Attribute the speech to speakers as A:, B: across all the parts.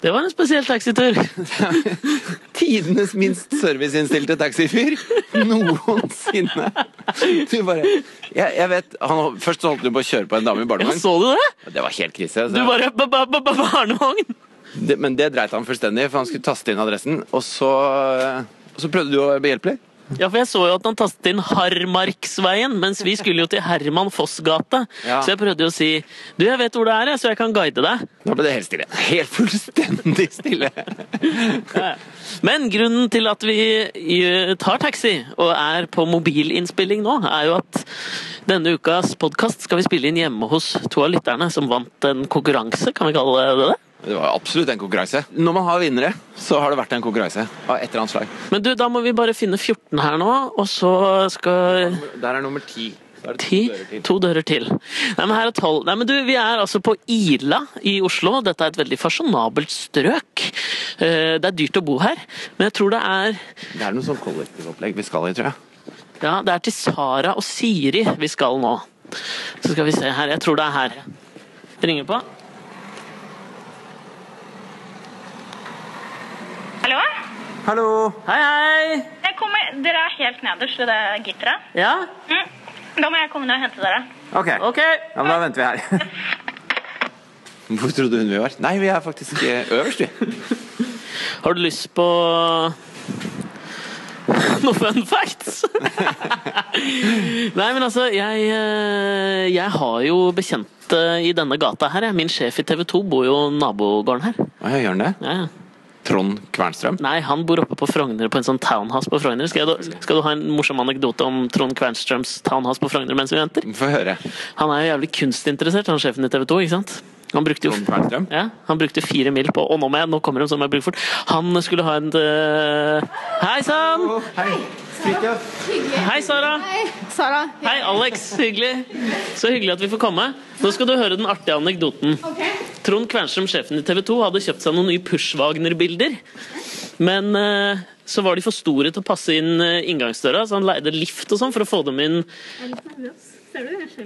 A: Det var en spesiell taxitur.
B: Tidenes minst serviceinnstilte taxifyr noensinne. Du bare Jeg, jeg vet han, Først så holdt han på å kjøre på en dame i
A: Ja,
B: barnevogn.
A: så du det?
B: Det var helt krise. så-
A: Du bare ba, ba, ba, ba, Barnevogn!
B: det, men det dreit han fullstendig, for han skulle taste inn adressen. Og så, og så prøvde du å være behjelpelig.
A: Ja, for jeg så jo at han tastet inn Harmarksveien, mens vi skulle jo til Herman Foss gate.
B: Ja.
A: Så jeg prøvde jo å si Du, jeg vet hvor det er, jeg, så jeg kan guide deg.
B: Da ble det helt stille. Helt fullstendig stille.
A: Men grunnen til at vi eh, tar taxi og er på mobilinnspilling nå, er jo at denne ukas podkast skal vi spille inn hjemme hos to av lytterne som vant en konkurranse, kan vi kalle det det?
B: Det var absolutt en konkurranse. Når man har vinnere, så har det vært en konkurranse av et eller annet slag.
A: Men du, da må vi bare finne 14 her nå, og så skal
B: Der er nummer ti. Da er det
A: Ti?
B: to dører til.
A: To dører til. Nei, men her er tolv. Nei, men du, vi er altså på Ila i Oslo. Dette er et veldig fasjonabelt strøk. Eh, Det er dyrt å bo her, men jeg tror det er
B: Det er noe sånn kollektivopplegg vi skal i, tror jeg.
A: Ja, det er til Sara og Siri vi skal nå. Så skal vi se her. Jeg tror det er her. Ringer på.
C: Hallo?
B: Hallo!
A: Hei, hei!
C: Jeg kommer, dere er helt nederst ved det gitteret.
A: Ja,
C: Mm. Da må jeg komme ned og hente dere.
B: Ok,
A: OK.
B: ja, men da venter vi her. Hvor trodde hun vi var? Nei, vi er faktisk eh, øverst, vi.
A: Har du lyst på noen fun facts? Nei, men altså, jeg, eh, jeg har jo bekjente i denne gata her. jeg. Min sjef i TV 2 bor jo i nabogården her.
B: Å, ja, gjør han det?
A: Ja, ja.
B: Trond Kvernstrøm?
A: Nei, han bor oppe på Frogner, på en sånn townhouse på Frogner. Skal, jeg, da- skal du ha en morsom anekdote om Trond Kvernstrøms townhouse på Frogner mens vi venter?
B: Få høre.
A: Han er jo jævlig kunstinteressert, han sjefen i TV 2, ikke sant? Han brukte jo
B: Trond Kvernstrøm?
A: ja, han brukte fire mil på Og nå, må jeg, nå kommer de som jeg bruker fort. Han skulle ha en eh, Hei sann!
B: Hei.
A: Hei, Sara.
D: Hei, Sara.
A: Hei, Alex. Hyggelig. Så hyggelig at vi får komme. Nå skal du høre den artige anekdoten. Trond Kvernstrøm, sjefen i TV 2, hadde kjøpt seg noen nye Pushwagner-bilder. Men eh, så var de for store til å passe inn eh, inngangsdøra, så han leide lift og sånn for å få dem inn.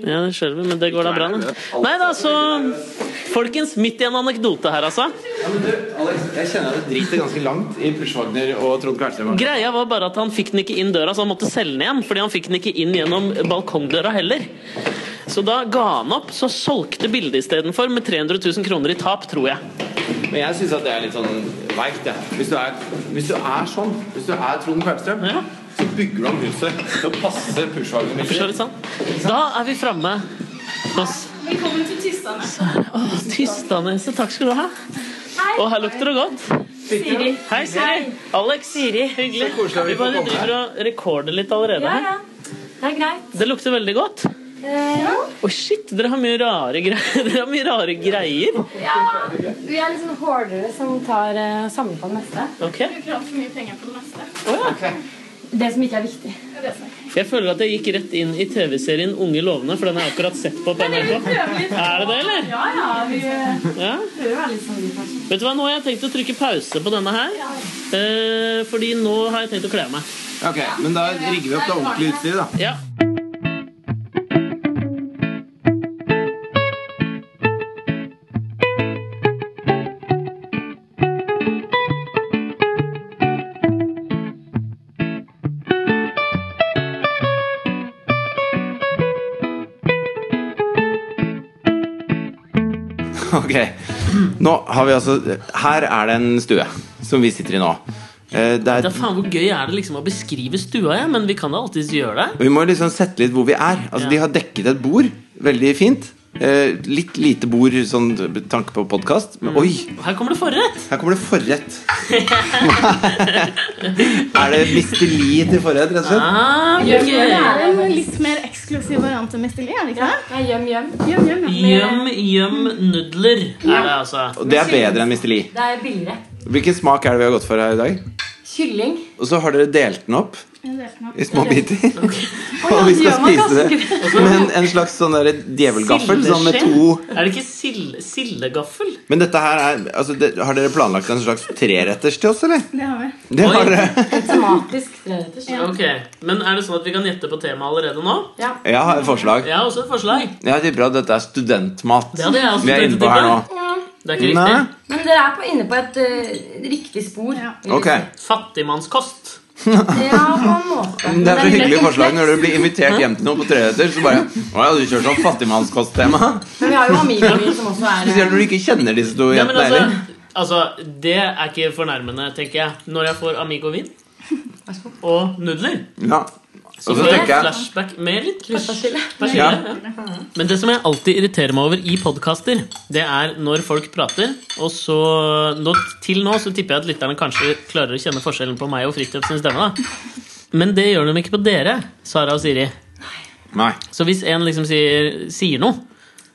A: Ja, det skjelver, men det går da bra. da. Nei da, så Folkens, midt i en anekdote her, altså.
B: Ja, men du, Alex, jeg kjenner at det driter ganske langt i Pushwagner og Trond Kvernstrøm.
A: Greia var bare at han fikk den ikke inn døra, så han måtte selge den igjen. Fordi han fikk den ikke inn gjennom balkongdøra heller. Så da ga han opp, så solgte bildet istedenfor med 300 000 kroner i tap, tror jeg.
B: Men jeg syns at det er litt sånn veikt, jeg. Hvis, du er- hvis du er sånn, hvis du er Trond Kvernstrøm,
A: Ja.
B: så bygger du om huset til å passe Pushwagner.
A: Forstår du sånn? Da er vi framme hos
D: Velkommen til Tystane.
A: Åh, Tystaneset. Takk skal du ha. Og her lukter det godt.
D: Siri.
A: Hei, Siri. Alex. Siri. Hyggelig.
B: koselig at vi
A: Vi bare
B: får komme
A: driver og rekorder litt allerede
D: Ja,
A: her.
D: ja. Det er greit.
A: Det lukter veldig godt.
D: Ja.
A: Oi, shit, dere har mye rare greier. Dere har mye rare greier.
D: Vi er litt sånn hoardere som tar eh, samler på det meste.
A: Ok.
C: Bruker altfor mye penger på det meste.
D: Det som ikke er viktig.
A: Jeg føler at jeg gikk rett inn i TV-serien Unge lovende, for den har jeg akkurat sett på på NRK. Er det det, eller?
D: Ja, ja. Vi eh,
A: Ja.
D: prøver å være litt sånn kanskje.
A: Vet du hva, nå har jeg tenkt å trykke pause på denne her. Eh, fordi nå har jeg tenkt å kle av meg.
B: Ok, men da rigger vi opp det ordentlige utstyret, da.
A: Ja.
B: Ok, nå har vi altså Her er det en stue som vi sitter i nå. Eh, Det
A: Da
B: er,
A: faen, Hvor gøy er det liksom å beskrive stua, ja? men vi kan da alltids gjøre det.
B: vi må liksom sette litt hvor vi er. Altså,
A: Ja.
B: De har dekket et bord. Veldig fint. Eh, Litt lite bord sånn med tanke på podkast.
A: Mm.
B: Men oi,
A: Her kommer det forrett!
B: her kommer det forrett. er det misteli til forrett, rett og slett?
A: Ah, gøy.
E: Det er en litt mer eksklusiv variant av Misteli, er det ikke det?
D: Nei, gjem, gjem.
E: Gjøm, gjøm, ja.
A: Gjøm, gjøm nudler er det, altså.
B: Og det er bedre enn misteli.
D: Det er billigere.
B: Hvilken smak er det vi har gått for her i dag?
D: Kylling.
B: Og så har dere delt den opp
E: En del som har-
B: i små biter.
D: ja,
B: Og vi skal
D: gjør man
B: spise det med en, en slags sånn der djevelgaffel. Sånn med
A: Sildeskje?
B: to
A: Er det ikke sild- sildegaffel?
B: Men dette her er, altså, det, Har dere planlagt en slags treretters til oss, eller?
E: Det har vi.
B: Det
A: Oi.
B: har dere.
D: En tematisk treretters.
A: Ok, Men er det sånn at vi kan gjette på temaet allerede nå?
D: Ja.
B: Jeg har et forslag.
A: Jeg har også et forslag.
B: Jeg tipper at dette er studentmat.
A: Det altså hadde jeg også
B: Vi er
A: tenkt å
B: inne på her nå.
A: tippe. Det er ikke
B: Nei.
A: riktig.
D: Men dere er på, inne på et eh, riktig spor.
E: Ja.
D: vil jeg
B: Ok.
D: si.
A: Fattigmannskost.
D: Ja, på en måte.
B: Det er så
D: Men
B: hyggelig
D: veldig
B: forslag
D: kompleks.
B: når du blir invitert hjem til noen på trehøyder. Så bare Å ja, du kjører sånn fattigmannskosttema.
D: Men vi har jo Amigo-bil som også er eh,
B: Spesielt når du ikke kjenner disse to
A: Ja, men
B: jentene
A: altså,
B: heller.
A: altså, det er ikke fornærmende, tenker jeg. Når jeg får Amigo-vin og nudler,
B: Ja.
A: så
B: Og så
A: får jeg
B: tenker jeg
A: flashback med litt
D: Persille.
A: persille. Ja. Men det som jeg alltid irriterer meg over i podkaster, det er når folk prater, og så nå, Til nå så tipper jeg at lytterne kanskje klarer å kjenne forskjellen på meg og Fridtjof sin stemme, da. Men det gjør de ikke på dere, Sara og Siri.
B: Nei.
A: Så hvis en liksom sier, sier noe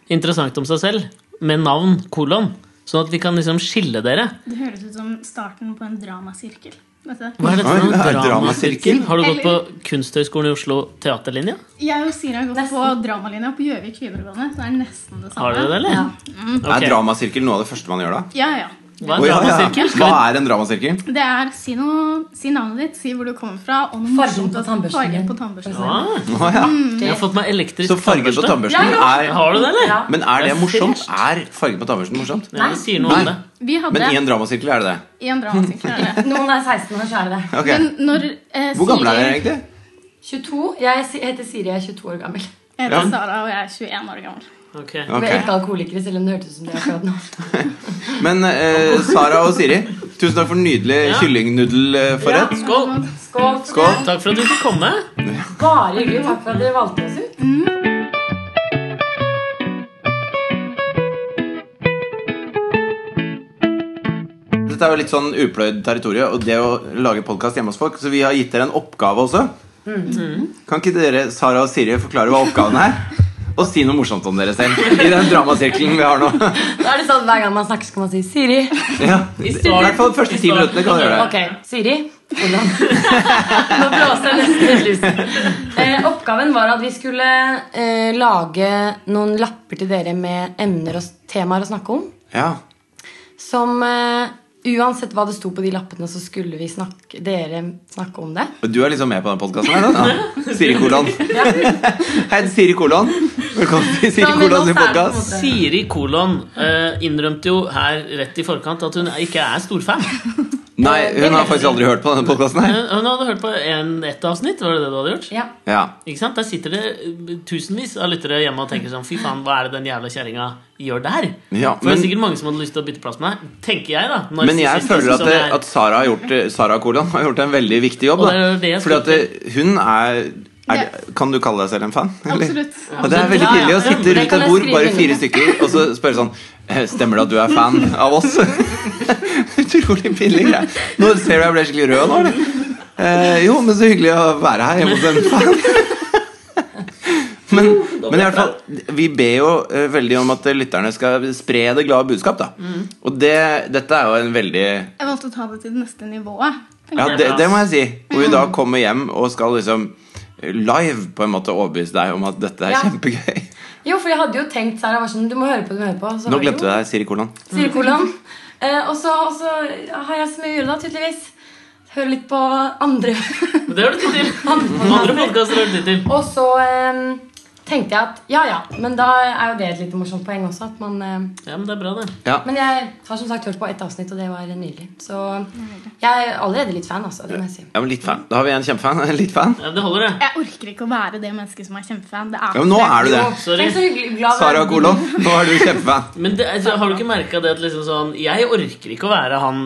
A: interessant om seg selv med navn kolon, sånn at vi kan liksom skille dere
E: Det høres ut som starten på en dramasirkel. Vet du?
A: Hva er dette
B: Oi,
A: for
B: det er
A: noe? Dramasirkel?
B: dramasirkel.
A: Har du gått på Kunsthøgskolen i Oslo teaterlinje?
E: Jeg og Siri har gått
D: Nesten.
E: på dramalinja på Gjøvik videregående. Så det er nesten det samme.
A: Har dere det, eller?
D: Ja.
A: Ok.
B: Er dramasirkel noe av det første man gjør da?
E: Ja, ja.
A: Hva
B: Å,
A: er
B: ja, ja.
A: dramasirkel?
B: Hva
A: Skal vi-
B: er en dramasirkel?
E: Det er si, noe, si navnet ditt, si hvor du kommer fra, og noe
D: Fargen
E: morsomt
D: på
E: at-
D: tannbørsten
E: fargen
D: din.
E: på tannbørsten.
A: Ah,
B: Å, ja.
A: jeg har fått meg elektrisk
B: Så fargen på
A: tannbørste.
B: tannbørsten er
A: Har du det, eller?
D: Mm. Ja.
B: Men er det
A: Det er
B: morsomt? Er fargen på tannbørsten morsomt?
A: Ja, det sier noe om
B: Nei.
A: det.
E: Vi hadde
B: Men i en dramasirkel er det det.
E: en dramasirkel. er det.
D: Noen er 16 år, så er det det.
B: Ok.
E: Men når eh,
B: Hvor gamle er dere egentlig?
E: Siri,
D: 22. Jeg si- heter Siri, jeg er 22 år gammel.
E: eh,
B: Ja.
E: Sara og jeg er 21 år gammel.
A: Ok.
D: Vi
B: Ok.
D: er ikke alkoholikere, selv om det hørtes ut som det akkurat nå.
B: Men eh, Sara og Siri, tusen takk for nydelig
A: Ja.
B: kyllingnudelforrett.
A: Skål!
D: Skål.
B: eh, Skål.
A: Takk for at du fikk komme.
D: Bare hyggelig. Takk for at dere valgte oss ut.
B: Dette er jo litt sånn upløyd territorium, og det å lage podkast hjemme hos folk. Så vi har gitt dere en oppgave også. Kan ikke dere, Sara og Siri, forklare hva oppgaven er? Og si noe morsomt om dere selv i den dramasirkelen vi har nå.
D: Da er det sånn Hver gang man snakker, skal man si Siri.
B: Ja. I hvert fall de første ti minuttene kan dere gjøre Sånn det.
D: Ok, Siri. Hvordan? Nå blåser jeg nesten helt lus. Eh, oppgaven var at vi skulle eh, lage noen lapper til dere med emner og s- temaer å snakke om.
B: Ja.
D: Som eh, uansett hva det sto på de lappene, så skulle vi snakke, dere snakke om det.
B: Og du er liksom med på den podkasten her? da? Ja. Siri Kolon. Hei, det er Siri Kolon. Velkommen til Siri
D: Nå, men nå
B: Kolon sin
D: er det på en
B: podkast.
D: måte-
A: Siri Kolon eh, innrømte jo her rett i forkant at hun ikke er storfan.
B: Nei, hun har faktisk aldri hørt på denne podkasten
A: Hun
B: her.
A: Eh, hun hadde hørt på en, ett avsnitt, var det det du hadde gjort?
D: Ja.
B: Ja.
A: Ikke sant? Der sitter det eh, tusenvis av lyttere hjemme og tenker sånn Fy faen, hva er det den jævla kjerringa gjør der?
B: Ja,
A: For det
B: men-
A: er sikkert mange som hadde lyst til å bytte plass med deg. Tenker jeg, da.
B: Men jeg
A: narsissistisk
B: føler at,
A: som
B: det,
A: jeg er.
B: at Sara, har gjort, Sara Kolon har gjort en veldig viktig jobb.
A: Og
B: Da.
A: det er jo det jeg
B: Fordi
A: skal
B: at det, hun er, er Kan du kalle deg selv en fan? eller?
E: Absolutt.
B: Og det er
A: Ja,
B: veldig
A: ja.
B: pinlig å sitte
A: Det
B: rundt
D: kan
B: et
D: jeg
B: bord,
D: skrive
B: bare
D: under
B: fire
D: på.
B: stykker, og så spørre sånn «Eh, Stemmer det at du er fan av oss? Utrolig pinlig greie. Nå ser du jeg ble skikkelig rød nå, eller? Eh, jo, men så hyggelig å være her hjemme hos en fan. Men, men i hvert fall, vi ber jo eh, veldig om at lytterne skal spre det glade budskap. da
D: Mm.
B: Og det, dette er jo en veldig
E: Jeg valgte å ta det til det neste nivået. tenker
B: ja,
E: jeg.
B: det, det må jeg si. Hvor vi da
D: Mm.
B: kommer hjem og skal liksom live på en måte overbevise deg om at dette er
D: Ja.
B: kjempegøy.
D: Jo, for jeg hadde jo tenkt Sara var sånn Du må høre på, du må høre på. Så
B: Nå
D: har jeg
B: glemte du deg, Siri Kolan.
D: jo- Siri Kolon. Eh, og, så, og så har jeg så mye å gjøre, da, tydeligvis. Hører litt på andre
A: Men Det har du tid til. Andre podkaster har du tid til.
D: Og så eh, tenkte jeg at ja, ja, men da er jo det et lite morsomt poeng også. At man, eh,
A: Ja, men det er bra, det.
B: Ja.
D: men jeg har som sagt hørt på ett avsnitt, og det var nydelig. Så jeg er allerede litt fan, altså. Det må jeg si.
B: Ja, men litt fan. Da har vi en kjempefan. En litt fan.
A: Ja, det holder, det.
E: Jeg orker ikke å være det mennesket som er kjempefan. Det er
B: Ja, men nå er du det.
A: Sorry.
D: Tenk så hyggelig glad
B: Sara
D: verden.
B: Kolan, nå er du kjempefan.
A: Men det, altså, har du ikke merka det at liksom sånn Jeg orker ikke å være han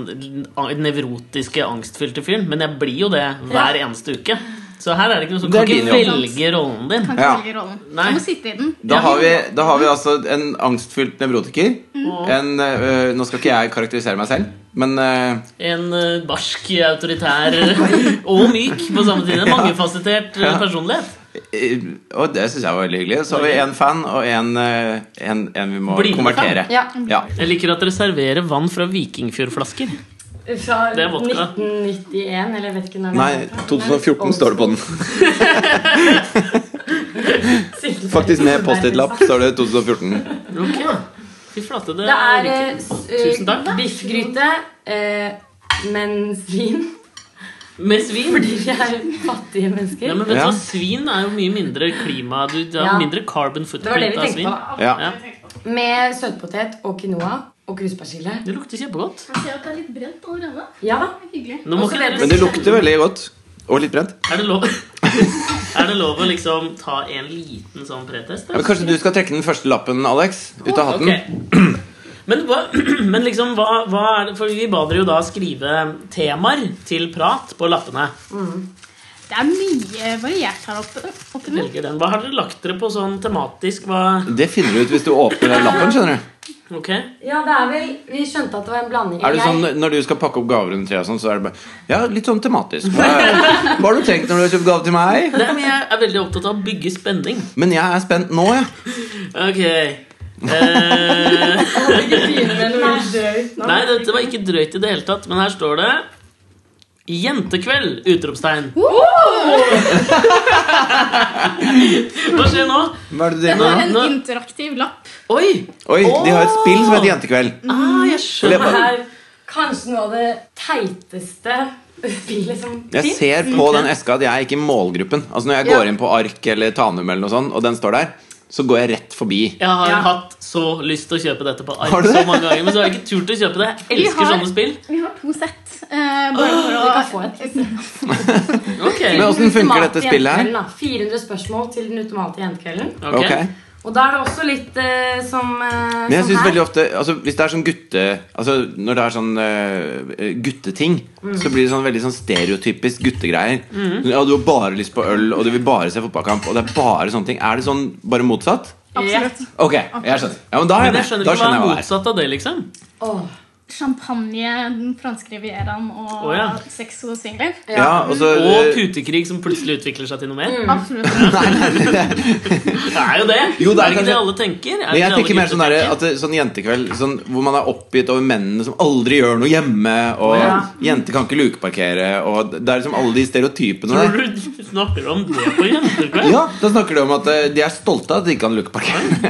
A: an- nevrotiske, angstfylte fyren, men jeg blir jo det hver eneste uke. Så her er det ikke noe som
B: Det er
A: kan ikke
B: din jobb.
A: velge rollen din.
E: Kan
B: Ja.
E: ikke velge rollen.
A: Nei.
E: Du må sitte i den.
B: Da har vi, da har vi altså en angstfylt nevrotiker. En, øh, nå skal ikke jeg karakterisere meg selv, men øh,
A: En eh, barsk, autoritær og myk på samme tid. En Mangefasettert eh, personlighet.
B: øh, Og det syns jeg var veldig hyggelig. Så har vi en fan og en, øh, en, en vi må
A: Blidende
B: konvertere.
D: Ja.
B: Ja.
A: Jeg liker at dere serverer vann fra vikingfjordflasker.
D: Fra
A: Det er vodka.
D: 1991, eller jeg vet ikke når.
B: Nei, 2014 står det på den. Faktisk med Post-It-lapp står det 2014.
A: Ok, Fy flate, det,
D: Det er
A: er
D: eh,
A: riktig.
D: s-
A: Tusen takk.
D: eh, biffgryte, eh, men svin.
A: Med svin.
D: Fordi vi er fattige mennesker.
A: Ja, men vet du
B: Ja.
A: hva, Svin er jo mye mindre klima Du, du har
D: Ja.
A: mindre carbon
D: det var det
A: footprint av
D: vi tenkte
A: svin.
D: på. da.
B: Ja.
A: Ja.
D: Med søtpotet og quinoa og kruspersille.
A: Det lukter kjempegodt.
E: Jeg ser at det er litt brent allerede.
D: Ja da.
E: Det er hyggelig.
A: Nå må
D: Også
A: ikke dere
D: veldig-
B: Men det lukter veldig godt. Og litt brent.
A: Er det lov Er det lov å liksom ta en liten sånn pretest?
B: Ja, men kanskje du skal trekke den første lappen, Alex? Ut av hatten?
A: Ok. Men, hva, men liksom, hva, hva er det For vi ba dere jo da skrive temaer til prat på lappene.
E: Det er mye variert her oppe. oppe nå.
A: Velger den. Hva har dere lagt dere på sånn tematisk? Hva,
B: Det finner du ut hvis du åpner den lappen. skjønner du
A: ok
D: Ja, det er vel Vi skjønte at det var en blanding.
B: Er det sånn,
D: Jeg-
B: Når du skal pakke opp gaver under treet, og sånn, så er det bare Ja, litt sånn tematisk. Hva, hva har du tenkt når du har kjøpt gave til meg?
A: Nei, men Jeg er veldig opptatt av å bygge spenning.
B: Men jeg er spent nå, jeg.
A: Ok eh, Nei, dette var ikke drøyt i det hele tatt, men her står det Jentekveld! Utropstegn. Hva skjer nå?
B: Hva er det du
E: Det
B: driver
E: var
B: med nå?
E: en
A: Nå-
E: interaktiv lapp.
A: Oi!
B: Oi, de har et spill som heter Jentekveld.
A: Ah, jeg
B: Eller
A: skjønner.
B: jeg
D: Det
B: bare-
D: er kanskje noe av det teiteste spillet som
B: Jeg
D: finnes.
B: ser på den eska at jeg er ikke i målgruppen. Altså Når jeg
D: Ja.
B: går inn på ark eller Tanum, eller noe sånt, og den står der, så går jeg rett forbi.
A: Jeg har
D: Ja.
A: hatt så lyst til å kjøpe dette på
B: Har
A: Ark
B: du
A: så
B: det?
A: mange ganger, men så har jeg ikke turt å kjøpe det. Jeg
E: Vi
A: elsker
E: har-
A: sånne spill.
E: Vi har to sett. Eh, bare for å
D: Vi kan få et.
A: Ok,
B: Men åssen funker
D: Ultimate
B: dette spillet her?
D: jentekvelden, da. 400 spørsmål til den ultimate jentekvelden.
A: ok.
B: Ok.
D: Og da er det også litt eh, som, eh,
B: Men jeg
A: Sånn
D: som
B: synes
D: her.
B: veldig ofte altså, Hvis det er sånn gutte altså, Når det er sånn eh, gutteting
A: Mm.
B: Så blir det sånn veldig sånn stereotypisk guttegreier ja, Du har bare lyst på øl Og du vil bare se fotballkamp Og det er bare sånne ting Er det sånn bare motsatt?
E: Absolutt.
B: Ok, jeg skjønner Ja, men da, er
A: Men
B: det-
A: jeg skjønner
B: da
A: ikke hva
B: skjønner
A: er
B: jeg hva det er
A: motsatt av det, liksom.
D: Åh.
E: Champagne, den franske rivieraen og
A: Å, ja.
E: sex og singelliv.
B: ja, og så,
A: Og
B: eh,
A: putekrig som plutselig utvikler seg til noe
E: Mm.
D: Mm.
A: mer.
E: Absolutt.
A: Det er jo det.
B: Jo, det er
A: er ikke
B: kanskje-
A: det alle tenker? Er
B: men
A: ikke
B: jeg
A: det alle
B: tenker mer sånn,
A: gutter
B: der,
A: tenker?
B: at, det- sånn jentekveld sånn, Hvor man er oppgitt over mennene som aldri gjør noe hjemme Og
D: Ja.
B: jenter kan ikke lukeparkere Og det er liksom alle de stereotypene der
A: Tror du snakker om det på jentekveld?
B: Ja, da snakker du om at eh, de er stolte av at de ikke kan lukeparkere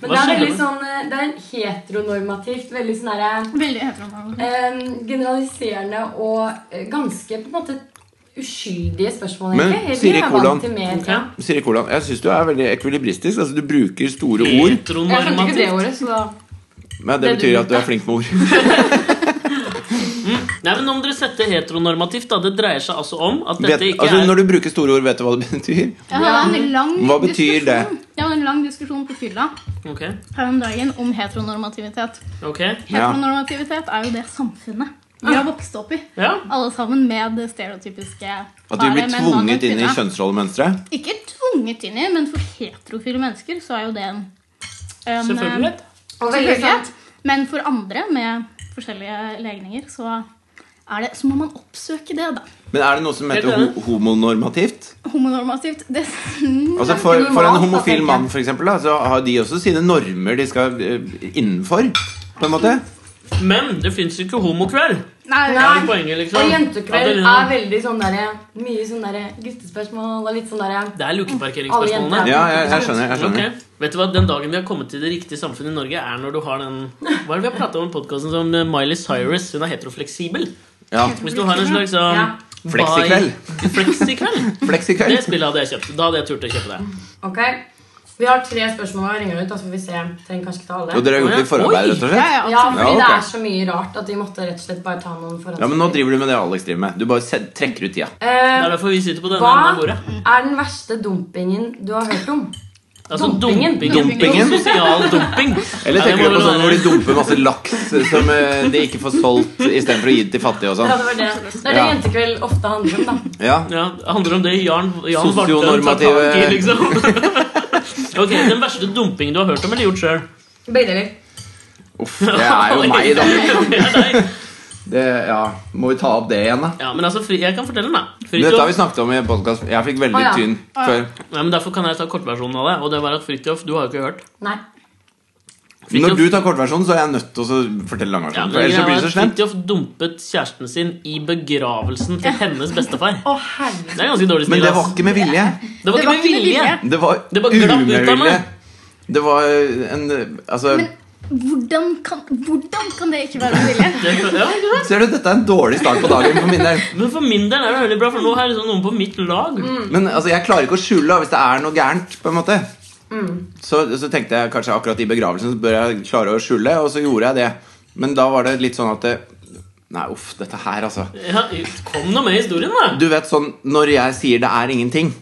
D: Men
A: Hva
D: det er
A: skjer med-
D: veldig sånn eh, Det er heteronormativt. Veldig sånn herre
E: Veldig heteronormativt.
D: eh, generaliserende og eh, ganske på en måte uskyldige spørsmål.
B: Men,
D: egentlig. Vi
B: Siri
D: er
B: Kolan.
D: vant til mer, ja.
B: Siri Kolan, jeg syns du er veldig ekvilibristisk. Altså, du bruker store ord,
A: Mm.
D: Jeg skjønte ikke det
A: Heteronormativt.
D: ordet, så da
B: men det
D: Det du
B: betyr at du er flink med ord.
A: Nei, men om dere setter heteronormativt, da, det dreier seg altså om at
B: Vet,
A: dette ikke
B: altså,
A: er
B: når du bruker store ord, vet du hva det betyr?
E: Jeg hadde en lang
B: Hva betyr det?
E: diskusjon- Jeg hadde en lang diskusjon på fylla
A: Ok,
E: her om dagen om heteronormativitet.
A: ok.
B: Ja.
E: Heteronormativitet er jo det samfunnet vi har vokst opp i.
A: Ja.
E: Alle sammen med det stereotypiske
B: At du
E: bare
B: blir
E: menn, mann og
B: tvunget inn i
E: kvinne.
B: kjønnsrollemønsteret?
E: Ikke tvunget inn i, men for heterofile mennesker så er jo det en, en
A: Selvfølgelig.
D: Og veldig sånn- sant.
E: Selvfølgelighet. Men for andre med forskjellige legninger, så er det, så må man oppsøke det, da.
B: Men er det noe som heter
A: Helt
B: ho homonormativt?
E: Homonormativt. Det,
B: Altså for,
D: Ganske
B: for en
D: normalt, da, tenker
B: homofil
D: jeg.
B: mann, for eksempel, da, så har de også sine normer de skal eh, innenfor. På en måte.
A: Men det fins ikke homokveld.
E: nei,
A: Det
D: Nei.
A: er poenget, liksom.
D: Og jentekveld
A: Adelina.
D: er veldig sånn derre Mye sånn derre guttespørsmål og litt sånn derre
A: Det er lukeparkeringsspørsmålene.
D: Alle
B: Ja, jeg, jeg skjønner. jeg skjønner
A: Ok. Vet du hva, Den dagen vi har kommet til det riktige samfunnet i Norge, er når du har den Hva er det vi har pratet om i podcasten som eh, Miley Cyrus? Hun er heterofleksibel.
B: ja.
A: Hvis du har en slags sånn
D: Ja.
B: Fleksikveld.
A: bi- Fleksikveld. Det
B: Fleksikveld.
A: spillet hadde jeg kjøpt. Da hadde jeg turt å kjøpe det.
D: Ok, Vi har tre spørsmål å ringe ut, da så får vi se. Trenger kanskje ikke ta alle.
B: Og dere har gjort litt forarbeid,
A: Oi.
B: rett og slett?
E: Ja, ja,
D: Ja,
E: absolutt.
D: fordi
B: Ja, ok.
D: det er så mye rart at vi måtte rett og slett bare ta noen forhånds...
B: Ja, men nå driver du med det Alex driver med. Du bare se- trekker ut tida.
A: Det er
D: Eh,
A: derfor vi sitter på denne
D: hva
A: enden av bordet.
D: er den verste dumpingen du har hørt om?
A: Altså
D: Dumpingen.
A: dumping.
B: Dumpingen.
A: Sosial dumping.
B: Eller
A: Nei, det
B: tenker
A: må
B: du på
A: vel
B: sånn hvor
A: være-
B: de dumper masse laks som eh, de ikke får solgt, istedenfor å gi det til fattige og
D: Ja,
B: sånn?
D: det var det. Det er det
B: Ja.
D: jentekveld ofte handler om, da.
B: Ja.
A: Ja, det handler om det Jan, Jan Vartøen tar tak i,
B: Sosionormative-
A: liksom. ok, Den verste dumpingen du har hørt om eller gjort sjøl?
D: Begge deler.
B: Uff, det er jo meg, da.
A: Det er deg.
B: Det, ja. Må vi ta opp det igjen, da?
A: Ja, men altså, fri, jeg kan fortelle den, da.
B: Men Dette har
A: Fridtjof,
B: vi snakket om i podkast. Jeg fikk veldig
D: Å, ja.
B: tynn
E: Å, ja.
B: før.
A: ja, men derfor kan jeg ta kortversjonen av det. Og det var at Fridtjof, du har jo ikke hørt.
D: Nei.
B: Når du tar kortversjonen, så er jeg nødt til å fortelle
A: ja, men
B: langversjonen. For
A: greia
B: ellers så
A: var
B: blir det så
A: at
B: slemt.
A: Fridtjof dumpet kjæresten sin i begravelsen til hennes bestefar.
D: Å, herregud.
A: Det er ganske dårlig
B: Men
A: stil.
B: det var
A: ass.
B: ikke med vilje.
A: Det var ikke med vilje.
B: Det var
A: Det bare glapp ut av
B: umed
A: meg.
B: vilje. Det var en Altså
E: Men hvordan kan, hvordan kan det ikke være med vilje?
A: Det, ja, ikke sant?
B: Ser du, dette er en dårlig start på dagen for min del.
A: men for min del er det veldig bra, for nå er det liksom noen på mitt lag.
B: Men altså, jeg klarer ikke å skjule da, hvis det er noe gærent. på en måte Så, så tenkte jeg kanskje akkurat i begravelsen Så bør jeg klare å skjule, og så gjorde jeg det. Men da var det litt sånn at det, Nei, uff, dette her, altså.
A: Ja, kom nå med i historien, da!
B: Du vet sånn Når jeg sier det er ingenting,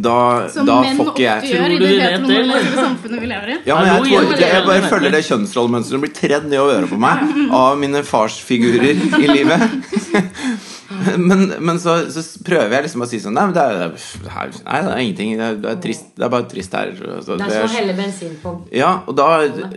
B: da,
E: Som
B: da
E: menn
B: får
E: ofte
B: ikke jeg
E: gjør i
A: Tror du
E: det
A: de vet det,
E: heteronormative samfunnet vi lever i.
B: ja, men jeg,
A: Hallo,
B: tror
A: jenter,
B: ikke, jeg bare
A: jenter.
B: følger det kjønnsrollemønsteret som blir tredd nedover øret på meg av mine farsfigurer i livet. Men, men så, så prøver jeg liksom å si sånn Nei, men det er, det er, det er, nei, det er ingenting. Det er, det er trist. Det er bare trist her. Så
D: Det er som å helle bensin på
B: Ja, og da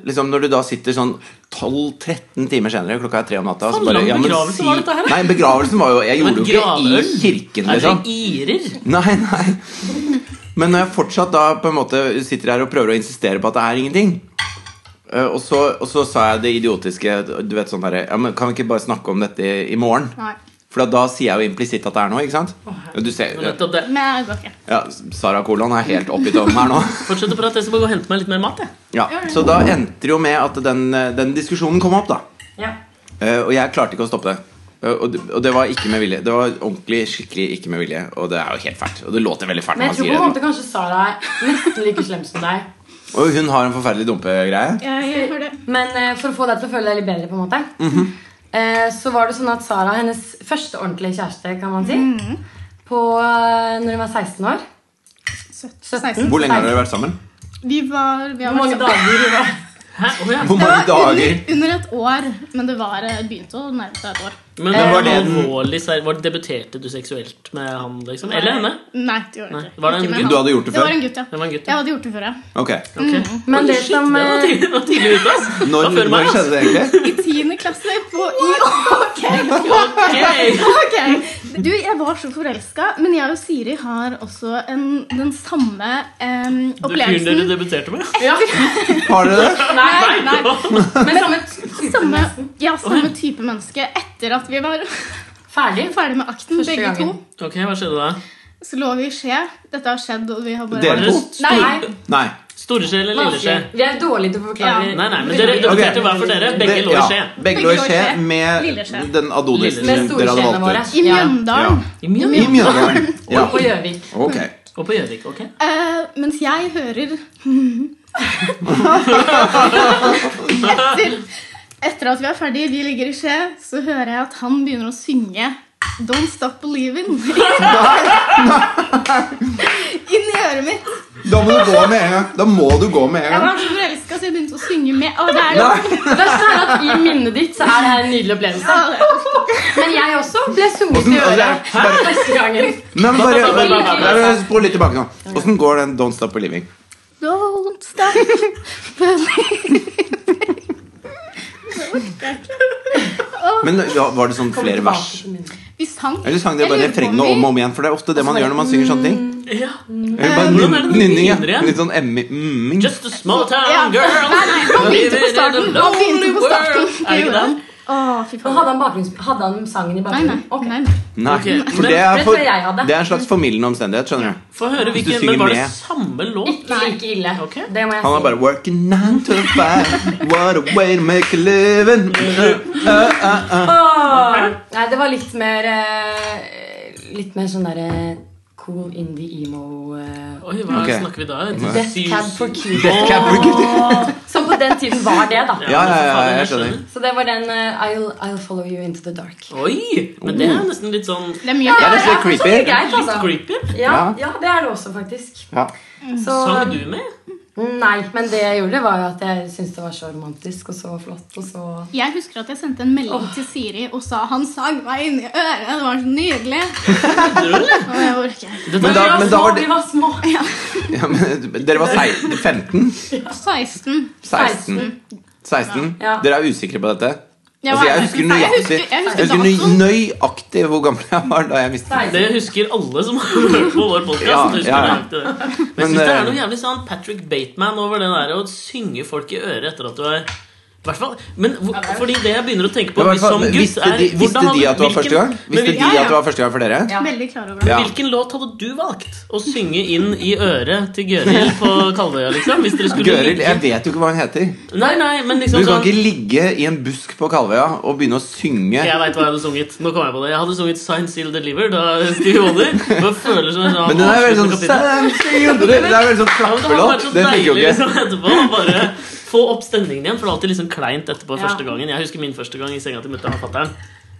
B: liksom Når du da sitter sånn 12-13 timer senere, klokka er tre om natta og så
A: Faen,
B: bare,
A: lang
B: ja, men
A: begravelse var dette her, da.
B: Nei, begravelsen var jo Jeg
A: Men
B: gjorde jo ikke i
A: gravøl?
B: kirken,
A: Er dere
B: liksom.
A: irer?
B: Nei, nei. Men når jeg fortsatt da på en måte sitter her og prøver å insistere på at det er ingenting eh, og så, og så sa jeg det idiotiske Du vet sånn der, ja, men Kan vi ikke bare snakke om dette i, i morgen?
E: Nei.
B: For da, da sier jeg jo implisitt at det er noe, ikke sant? Du ser,
A: Men nettopp det.
E: Men jeg går ikke.
B: ja, Sara Kolon er helt oppgitt over meg her nå.
A: Fortsett å prate, jeg skal bare gå og hente meg litt mer mat. Jeg.
B: Ja, Så da endte det jo med at den, den diskusjonen kom opp, da.
D: Ja.
B: Eh, og jeg klarte ikke å stoppe det. Eh, og, det, og det var ikke med vilje. Det var ordentlig skikkelig ikke med vilje. Og det er jo helt fælt. Og det låter veldig fælt. når
D: Men jeg tror på en
B: man sier
D: måte kanskje Sara er nesten like slem som deg.
B: det. Og hun har en forferdelig dumpegreie.
E: Jeg, Eh, jeg hører det.
D: Men eh, for å få deg til å føle deg litt bedre, på en måte
B: Mhm.
D: eh, så var det sånn at Sara, hennes første ordentlige kjæreste, kan man si, på, eh, når hun var 16 år
E: 16.
B: Hvor lenge har dere vært sammen?
E: Vi var, vi har
D: Hvor mange
E: vært sammen.
D: dager hun var
A: Hæ? Å, ja.
B: Hvor
E: Det
B: mange
E: var
B: dager?
E: under, under et år, men det var, eh, begynte å nærme seg et år.
A: Men det
B: var
A: var,
B: det den-
A: Eh, alvorlig, ser- var det debuterte du seksuelt med han, liksom? Eller henne?
E: Nei, det gjorde
A: Nei.
E: jeg ikke.
A: Var det en
E: Ikke
A: gutt?
E: med han.
B: Du hadde gjort det
E: Det
B: før?
E: var en gutt, ja.
A: Det var en gutt.
E: Jeg hadde gjort det før, ja.
B: Ok.
A: Ok.
D: Men det
A: Shit,
D: som
A: det var
D: eh,
A: tidlig, det var tidlig ute, ass. Det var
B: Når,
A: før meg,
B: når skjedde
A: ass.
B: det egentlig?
E: I tiende klasse på i
A: Ok.
E: Ok, Du, jeg var så forelska, men jeg og Siri har også en, den samme em,
A: Du fyren
E: opplevelsen.
A: dere debuterte med?
D: ja.
B: Har dere det?
D: Nei,
A: Nei!
D: men samme
E: Samme, ja, samme type menneske etter at vi var
D: Ferdig.
E: ferdig med akten,
D: Første
E: begge
D: gangen.
A: Ok, hva skjedde da?
E: to. Så lå vi i skje. Dette har skjedd, og vi har bare
A: Var
B: Dere
A: dere
B: to?
A: st-
D: Nei,
B: Nei.
A: Storeskje eller lilleskje?
D: vanskelig. Vi er dårlige til å forklare.
E: Ja.
A: Nei, nei, men dere debuterte hver for dere. Begge
B: Det-
A: lå i
B: ja,
A: skje.
B: Begge lå i skje med
E: Lille skje.
B: den adonisen
D: Med
B: dere hadde
D: storskjene våre.
B: valgt ut.
E: I
D: Ja.
E: Mjøndalen.
A: I Mjøndalen.
B: I Mjøndalen. Ja.
D: Og på Gjøvik.
B: Ok.
A: Og på Gjøvik. ok?
E: Eh, mens jeg hører etter, etter at vi er ferdige, vi ligger i skje, så hører jeg at han begynner å synge Don't Stop Believing. Inni øret mitt.
B: Da må du gå med en gang. Da må du gå med en
E: Jeg
B: gang.
E: var så forelska, så jeg begynte å synge med. Å, det er sånn
B: Nei.
D: Det verste er at i minnet ditt så er det her en nydelig opplevelse. Men jeg også ble sunget i
B: Altså,
D: øret
B: bare-
D: første gangen.
B: Nei, men bare,
A: Bare- bare- bare- bare- bare-
B: bare spol litt tilbake nå. Åssen går den Don't Stop Believing?
E: Don't stop believing.
B: Men ja, Var det sånn flere vers?
E: Vi sang.
B: Eller sang dere bare
E: Jeg lurer på om
B: refrengene
E: vi- Mm.
B: om og om igjen? For det er ofte det man gjør når man synger sånne ting.
A: Ja.
B: Eller bare
A: Hvordan er det
B: nyn-
A: den
B: nynning, ja.
A: begynner igjen?
B: Litt sånn emmi... mm,
A: Just a small
E: Ja.
A: town
E: Nei,
A: girl.
E: nei, han begynte på starten. Han begynte på starten.
A: Er det ikke den?
E: Å, fy
D: Men
E: faen.
D: hadde han, bakgrunns- hadde han sangen i
E: Nei, nei.
D: bakgrunnen? Ok.
E: nei, nei.
B: Nei,
A: Ok,
B: for det er,
D: det tror
B: for,
D: jeg jeg hadde.
B: det er en slags formildende omstendighet, skjønner du.
A: Få høre
B: Hvis du
A: hvilken
B: synger
A: Men var det
B: med.
A: samme låt?
D: Ikke like ille.
A: Ok.
D: Det må jeg
B: Han er
D: si.
B: bare working nine to five, what a way to make a living.
D: Nei, det var litt mer eh, Litt mer sånn derre cool indie emo eh,
A: Oi, hva
B: Ok.
A: snakker vi da?
D: Death
A: Syv-
D: Cab for Cutie.
B: Death Cab for
D: Som på den tiden var det, da.
B: Ja, ja,
A: men for
B: ja,
A: faen,
B: jeg skjønner.
D: Så det var den eh, I'll, I'll follow you into the dark.
A: Oi! Men det
B: Mm.
A: er nesten litt sånn
E: Det er mye
B: Det er
D: Ja,
B: nesten litt
D: det er
B: creepy.
D: greit,
A: litt
D: altså.
A: creepy.
D: Ja, ja, det er det også, faktisk.
B: Ja.
E: Mm.
D: Så,
A: Sang du med?
D: nei, men det jeg gjorde, var jo at jeg syntes det var så romantisk og så flott og så
E: Jeg husker at jeg sendte en melding til Siri og sa han sang meg inni øret. Det var så nydelig. Og jeg orker ikke.
A: Dette
B: Men da,
A: er
B: men da var
D: Vi
B: det,
D: var små! Vi var små.
B: ja, men, Dere var sei- 15?
E: 16.
B: 16? 16?
D: Ja.
B: Dere er usikre på dette?
E: Jeg,
B: altså,
E: var-
B: jeg husker
E: jeg
B: nøyaktig,
E: husker, jeg
B: jeg
E: husker
B: husker
E: datoen.
B: nøy- nøyaktig hvor gammel jeg var da jeg mistet
D: Nei,
A: det husker alle som har hørt på vår podcast
B: Ja,
A: husker
B: ja, ja.
A: nøyaktig det. Men jeg
B: Men,
A: synes det er
B: eh,
A: noe jævlig sånn Patrick Bateman over det der å synge folk i øret etter at du er Hvertfall. Men hvor, fordi det jeg begynner å tenke på
B: Ja, i hvert fall,
A: som gutt,
B: visste
A: er
B: de,
A: hvordan
B: visste de
A: hadde-
B: at det var første gang?
A: men hvil-
B: Visste de
E: ja, ja.
B: at det var første gang for dere?
D: Ja.
E: Veldig klar over det.
B: Ja.
A: Hvilken låt hadde du valgt å synge inn i øret til Gøril på Kalvøya? liksom? Hvis dere skulle
B: Gøril,
A: ligge-
B: jeg vet jo ikke hva hun heter.
A: Nei, nei, men
B: Du
A: liksom
B: kan
A: sånn
B: ikke ligge i en busk på Kalvøya og begynne å synge.
A: Jeg veit hva jeg hadde sunget. Nå kom Jeg på det Jeg hadde sunget Sign Seal Deliver da Stevie Wonder. Og føler som en sånn
B: Men den er veldig sånn
A: avsluttende kapittel.
B: Det er veldig sånn
A: Ja, men det hadde vært
B: klappelåt.
A: så
B: Den
A: deilig
B: funker jo ikke.
A: liksom, etterpå å bare få opp stemningen igjen, for det er alltid liksom kleint etterpå
D: Ja.
A: første gangen. Jeg husker min første gang i senga til mutter'n og fatter'n.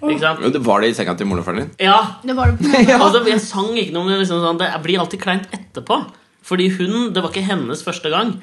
A: Ikke sant?
B: Jo, det Var det i senga til moren og faren din?
A: Ja,
E: Det var det på en måte.
A: altså, jeg sang ikke noe, men liksom sånn, det blir alltid kleint etterpå. Fordi hun, det var ikke hennes første gang.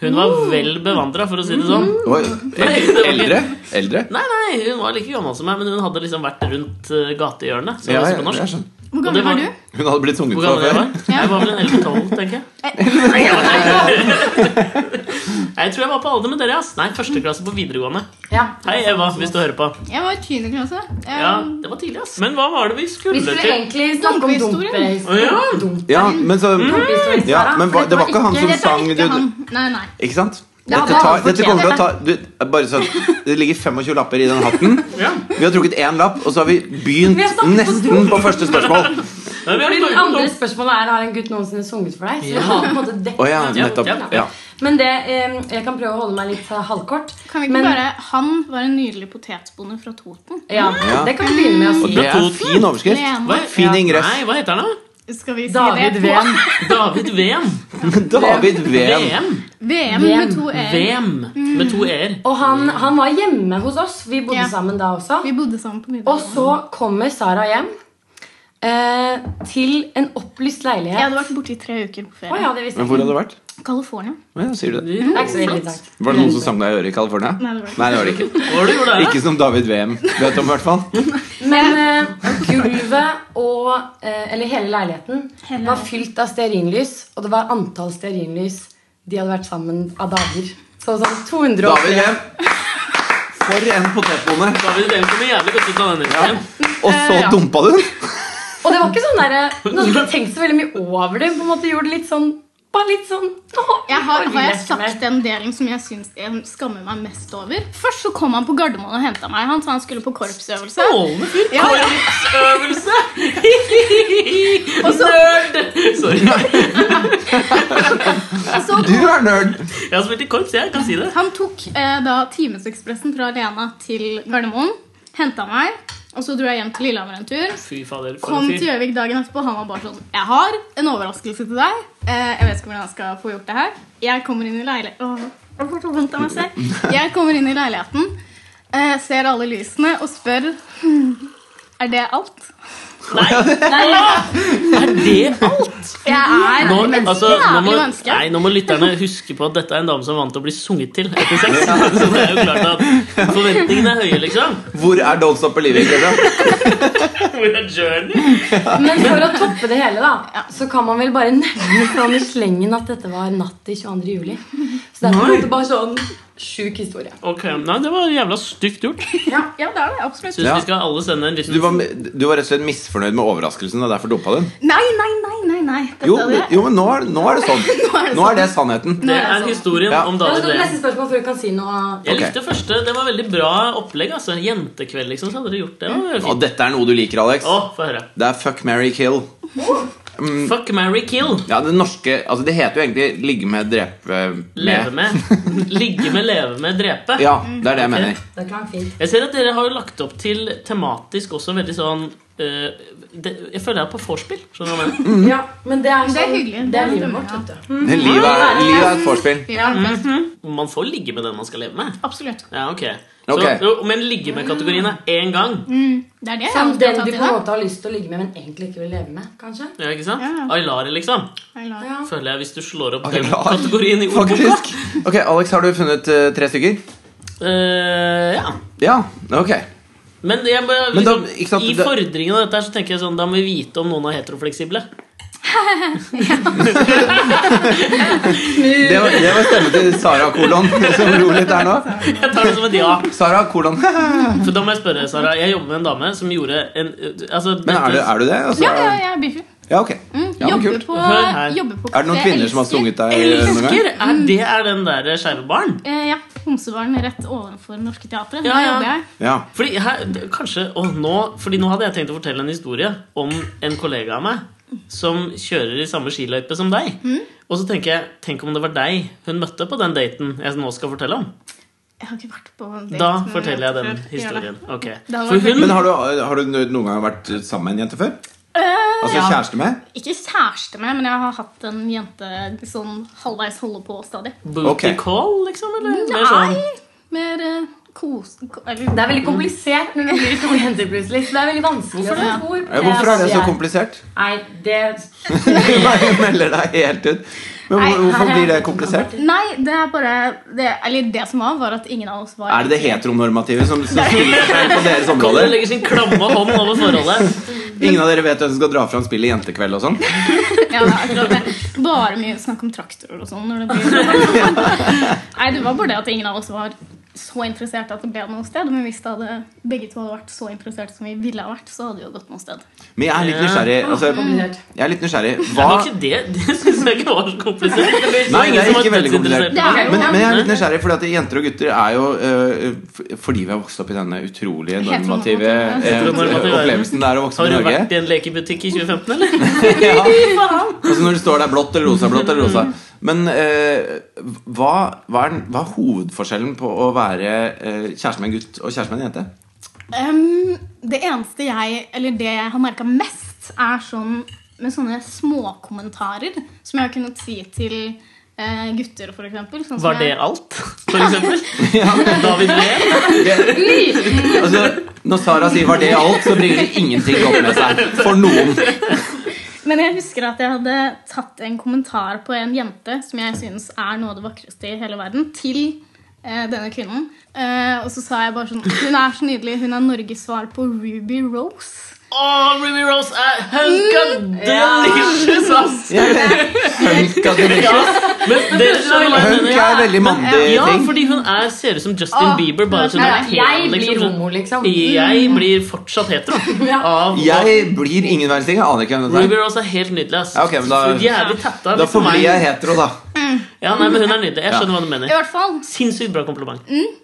A: Hun var vel bevandra, for å si det sånn.
B: Oi, el- eldre? Eldre?
A: Nei, nei, hun var like gammel som meg, men hun hadde liksom vært rundt eh, gatehjørnet. som
B: Ja,
A: det heter på
B: ja, sånn. jeg
A: norsk.
B: skjønner.
E: Hvor
A: Og det
E: gammel
A: var-
E: var du?
B: Hun hadde blitt sunget
A: Hvor
B: for
A: gammel jeg
B: før.
A: var? Jeg var vel en 11-12, tenker jeg.
E: Eh,
A: Jeg tror jeg var på alder med dere. ass Nei, første klasse på videregående.
D: Ja.
A: Hei, Eva, hvis du hører på.
E: Jeg var i 10. klasse. Eh, Jeg-
A: Ja, det var tidlig, ass Men hva var det vi
D: Vi
A: skulle
D: skulle
A: til?
D: egentlig snakke om
E: Dumpehistorien.
A: Å, ja.
D: dumpehistorien. Dump-
B: Ja, men så
A: Mm.
D: Dumpehistorien,
B: Mm. ja,
D: Sara.
B: men
D: For
B: hva- det var ikke han
E: Nei,
B: som
E: dette er
B: sang
E: ikke
B: du,
E: han. Nei, nei.
B: Ikke sant?
D: Ja,
B: Dette,
D: det var
B: tar,
D: han
B: dette kommer til å ta
D: fortjent,
B: du, bare sånn, Det ligger 25 lapper i den hatten.
A: Ja.
B: Vi har trukket én lapp, og så har vi begynt
D: Vi har snakket på
B: nesten på første spørsmål.
A: Nei, vi har
D: Fordi det
A: snakket om-
D: andre spørsmålet er Har en gutt noensinne sunget for deg? Så vi har på en måte dekket
B: Å ja,
A: Ja,
B: nettopp.
A: ja.
B: Ja.
D: Men det, eh, jeg kan prøve å holde meg litt eh, halvkort.
E: Kan vi ikke
D: Men-
E: bare Han var en nydelig potetbonde fra Toten.
D: Ja,
B: Ja.
D: Det kan vi begynne med å
B: Og
D: si.
B: det er en fin overskrift.
E: Lene.
B: Fin
A: Ja.
B: ingress.
A: Nei, hva heter han, da?
E: Skal vi si
D: David
E: det?
D: Ven.
A: David Ven.
B: David Ven.
A: VM.
E: VM med
D: VM.
E: to e-er.
A: VM
E: Mm.
A: med to e-er.
D: Og han, han var hjemme hos oss. Vi bodde
E: Ja.
D: sammen da også.
E: Vi bodde sammen på
D: Og
E: middag.
D: så kommer Sara hjem eh, til en opplyst
E: Jeg
D: leilighet.
E: hadde vært borte i tre uker på
D: Å
E: ferie.
D: ja, det visste
B: Men
D: jeg
B: hvor
D: ikke.
B: hadde du vært?
E: California.
B: Å Ja, sier du det?
E: Mm.
D: Det er ikke så ille sagt.
B: Var det noen som sang deg i øret i California?
E: Nei, det var det ikke.
B: Nei, det var det ikke.
A: Hva var det du gjorde der, da?
B: Ikke som David VM vet om, i hvert fall.
D: Men eh, gulvet og eh, Eller hele leiligheten
E: Hele
D: var
E: leiligheten.
D: fylt av stearinlys, og det var antall stearinlys de hadde vært sammen av dager. Så sånn 200 år.
B: David VM. For en potetbonde.
A: David Ven kommer jævlig godt ut av denne uken.
B: Og så dumpa du den!
D: Og det var ikke sånn derre Nå hadde ikke tenkt så veldig mye over det. På en måte gjorde det litt sånn Bare litt sånn «Åh,
E: Jeg har,
D: orker
E: har jeg
D: ikke mer».
E: sagt den delen som jeg syns jeg skammer meg mest over? Først så kom han på Gardermoen og henta meg. Han sa han skulle på korpsøvelse.
A: Strålende fyr.
E: Ja.
A: Korpsøvelse!
E: Og så-
A: Nerd! Sorry.
E: Og så
B: Du er nerd!
A: Jeg har spilt i korps, jeg kan si det.
E: Han tok eh, da timesekspressen fra Lena til Gardermoen. Henta meg. Og så dro jeg hjem til Lillehammer en tur.
A: Fy fader, for
E: Kom
A: en
E: til
A: fyr.
E: Gjøvik dagen etterpå. Han var bare sånn Jeg har en overraskelse til deg. Eh, jeg vet ikke hvordan jeg skal få gjort det her. Jeg kommer inn i leiligheten Jeg får så vondt av meg selv. Jeg kommer inn i leiligheten, eh, ser alle lysene og spør «Hm, Er det alt?
A: Er det alt?
E: Jeg er
A: Nå,
E: et
A: altså, nå, må,
E: jævlig menneske.
A: nei, nå må lytterne huske på at dette er en dame som er vant til å bli sunget til etter sex. Så det er jo klart at forventningene er høye, liksom.
B: Hvor er Don't Stop Believing? Klara?
A: Hvor er journey?
D: Men for å toppe det hele, da, så kan man vel bare nevne sånn i slengen at dette var natt til 22. juli. Så det er på en
A: Nei.
D: måte bare sånn sjuk historie.
A: Ok, nei, Det var jævla stygt gjort.
E: Ja, det er det. Absolutt.
A: Syns
B: Ja.
A: vi skal alle sende en
B: Du var,
A: liten
B: du var rett og slett misfornøyd med overraskelsen og derfor dumpa den?
E: Nei, nei, nei. nei, nei. Dette
B: Jo,
E: er
B: men-
E: det.
B: jo men nå er, nå er det sånn. Nå er det sannheten.
A: Det er historien
B: Ja.
A: om David
D: La oss gå til
A: Ven.
D: neste spørsmål før du kan si noe.
A: Jeg
B: Ok.
A: likte første. Det var veldig bra opplegg. altså Jentekveld, liksom. Så hadde dere gjort det. det var jo
B: Og
A: fint.
B: dette er noe du liker, Alex.
A: Å, få høre.
B: Det er fuck, marry, kill. Mm.
A: Fuck, marry, kill.
B: Ja, det norske Altså, det heter jo egentlig ligge med, drepe eh, med.
A: Leve med. Ligge med, leve med, drepe.
B: Ja, det er det jeg
A: Ok.
B: mener.
D: Det klang fint.
A: Jeg ser at dere har jo lagt opp til tematisk også veldig sånn eh, det, Jeg føler jeg er på vorspiel. Skjønner du hva jeg mener?
B: Mm-hmm.
D: Ja, men det er,
E: Det er
D: sånn-
E: hyggelig.
D: Det er
E: Det
D: livet
E: stemmer,
D: vårt,
E: ja.
D: vet du.
B: Men livet er, livet er et vorspiel.
E: Vi er best.
A: Man får ligge med den man skal leve med.
E: Absolutt.
A: Ja, ok. Så,
B: Ok.
A: jo, men ligge med-kategorien er én gang.
E: Det er det jeg
D: Som
E: alltid har tatt
D: den Sånn
E: i
D: du på en
E: dag.
D: måte har lyst til å ligge med, men egentlig ikke vil leve med. kanskje?
A: Ja, ikke sant?
E: Ja.
A: Ailare, liksom.
E: Jeg la-
D: Ja.
A: Føler jeg, hvis du slår opp den
B: Ailare.
A: kategorien i ordboka.
B: Faktisk. Ok, Alex, har du funnet eh, tre stykker?
A: Eh, ja.
B: Ja. Ok.
A: Men, jeg, må- liksom,
B: Men da- ikke sant,
A: i
B: da-
A: fordringen av dette her, så tenker jeg sånn Da må vi vite om noen er heterofleksible.
B: Det var, det var stemmen til Sara Kolon som lo litt her nå.
A: Jeg tar det som et ja.
B: Sara Kolon. Men
A: For da må jeg spørre, Sara. Jeg jobber med en dame som gjorde en altså,
B: er du, er du det? Altså,
E: Ja, ja, jeg er biffy.
B: ja, ok.
E: Mm,
B: Ja, men
E: jobber,
B: kult.
E: på,
A: Hør her.
E: jobber på
B: Er det noen
E: Café
B: kvinner som har
E: Elsker.
B: sunget deg eh, noen gang?
A: Elsker! Er det er den der skeive barn?
E: Eh, ja. Homsebaren rett ovenfor Norske Teatret.
A: Ja,
E: Der
A: ja.
E: jobber jeg.
B: Ja.
A: Fordi her, det- kanskje, og nå, fordi nå hadde jeg tenkt å fortelle en historie om en kollega av meg som kjører i samme skiløype som deg. Og så tenker jeg, tenk om det var deg hun møtte på den daten jeg nå skal fortelle om.
E: Jeg har ikke vært på en date
A: Da
E: med
A: forteller jeg den
E: før. Gjør det.
A: historien. Ok.
E: Det hadde
A: For
E: vært
A: hun
B: Men har du, har du noen gang vært sammen med en jente før?
E: Eh,
B: Altså
E: Ja.
B: kjæreste med?
E: Ikke kjæreste med, men jeg har hatt en jente sånn halvveis holde på stadig.
A: Booty
B: Ok.
A: call, liksom? Eller? Mer sånn
E: Nei! Mer eh, kos... ko- Eller
D: Det er veldig komplisert når det blir to jenter plutselig. Så det er veldig vanskelig å
E: det?
D: få ord på.
B: Eh, Hvorfor er det så
D: Jeg-
B: komplisert?
D: Nei, det
B: Du bare melder deg helt ut. Men
D: Nei,
B: hvor- hvorfor
D: her er-
B: blir det komplisert?
E: Nei, det er bare det, Eller det som var, var at ingen av oss var
B: Er det det heteronormative som som spiller feil på deres
A: Colin
B: områder?
A: legger sin klamme hånd over forholdet.
E: liksom.
B: Ingen av dere vet hvem som skal dra fram spillet Jentekveld og sånn?
E: Ja, det er akkurat det. Bare mye snakk om traktorer og sånn. Når det blir. Nei, det var bare det at ingen av oss var så interessert at det ble noe sted. Men hvis det hadde, begge to hadde vært så interessert som vi ville ha vært, så hadde det jo gått noe sted.
B: Men jeg er litt nysgjerrig. Altså,
D: komplisert.
B: jeg er litt nysgjerrig.
A: Det
B: Hva
A: var ikke det. Det syns jeg ikke var så komplisert. Det var
B: Nei,
A: ingen
B: det er
A: som var
B: ikke veldig komplisert.
A: dødsinteressert.
E: Det er jo-
B: Men, men jeg er litt nysgjerrig, fordi at jenter og gutter er jo øh, f- Fordi vi har vokst opp i denne utrolig normative
E: Heteronormative.
B: eh,
A: Heteronormative
B: opplevelsen det er å vokse
A: Har
B: opp i
A: du
B: Norge.
A: vært i en lekebutikk i 2015, eller?
B: Ja. Altså når du står der blått eller rosa, blått eller rosa. Men eh, hva, hva, er, den- hva er hovedforskjellen på å være eh, kjæreste med en gutt og kjæreste med en jente?
E: Ehm, det eneste jeg, eller det jeg har merka mest, er sånn med sånne småkommentarer som jeg har kunnet si til eh, gutter, for eksempel. Sånn som
A: Var det
E: jeg,
A: alt, for eksempel? David Lehn?
B: Altså, når Sara sier 'var det alt', så bringer det ingenting opp med seg. For noen.
E: men jeg husker at jeg hadde tatt en kommentar på en jente som jeg syns er noe av det vakreste i hele verden, til eh, denne kvinnen. Eh, og så sa jeg bare sånn Hun er så nydelig. Hun er Norges svar på Ruby Rose.
A: Å, Ruby Rose eh, er hunka delicious, ass!
B: Hunk er det
A: Ja,
B: ikke.
A: men dere skjønner hva jeg
B: Hunk
A: mener.
B: er veldig mandig
A: Ja,
B: ting.
A: fordi hun er, ser ut som Justin
E: Åh,
A: Bieber. Bare som
E: nei,
A: er
D: nei, jeg
A: pen,
D: blir
A: liksom.
D: homo, liksom.
A: Jeg blir fortsatt hetero. Av,
B: Jeg blir ingen verdens ting. Jeg aner ikke hvem
A: Ruby
B: det er.
A: Rose er helt nydelig. ass
B: Ja, ok, men da-
A: Så Jævlig tatta.
B: Da
A: liksom,
B: får bli
A: meg.
B: jeg hetero, da.
A: Ja, nei, men Hun er nydelig. Jeg skjønner hva du
E: I
A: mener.
E: hvert fall mm,
A: Sinnssykt bra kompliment.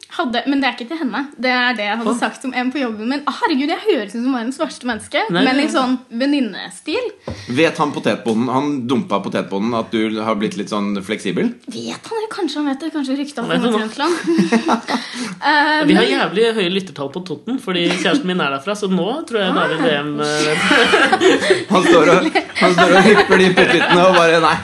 E: Hadde, men det er ikke til henne. Det er det jeg hadde sagt om en på jobben min. Ah, herregud, jeg høres ut som verdens verste menneske,
A: Nei.
E: men i sånn venninnestil.
B: Vet han potetbonden han dumpa potetbonden at du har blitt litt sånn fleksibel?
E: Vet han det? Kanskje han vet det? Kanskje rykta
A: Vet
E: om
A: han
E: et
A: det?
E: Trøndelag? Eh,
A: Vi har jævlig høye lyttertall på Toten, fordi kjæresten min er derfra. Så nå tror jeg David VM eh,
B: Han står og, han står og hypper de potetene og bare Nei,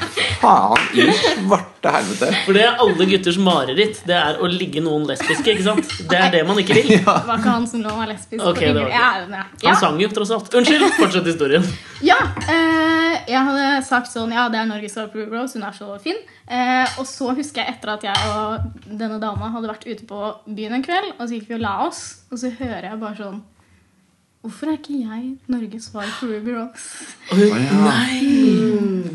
B: faen i svarte helvete.
A: For det er alle gutters mareritt. Det er å ligge noen lesbiske. ikke sant? Det er det man ikke vil.
E: det var ikke han som lå og var lesbisk.
A: Ok,
E: på
A: det
E: Yngre.
A: var det.
E: Jeg er jo det.
A: Han
E: Ja,
A: sang jo, tross alt. Unnskyld, fortsett historien.
E: ja eh, jeg hadde sagt sånn Ja, det er Norges Star Blue Rose, hun er så fin. Eh, og så husker jeg etter at jeg og denne dama hadde vært ute på byen en kveld, og så gikk vi og la oss, og så hører jeg bare sånn Hvorfor er ikke jeg Norges svar på Ruby Rose?
B: Å, ja.
E: Og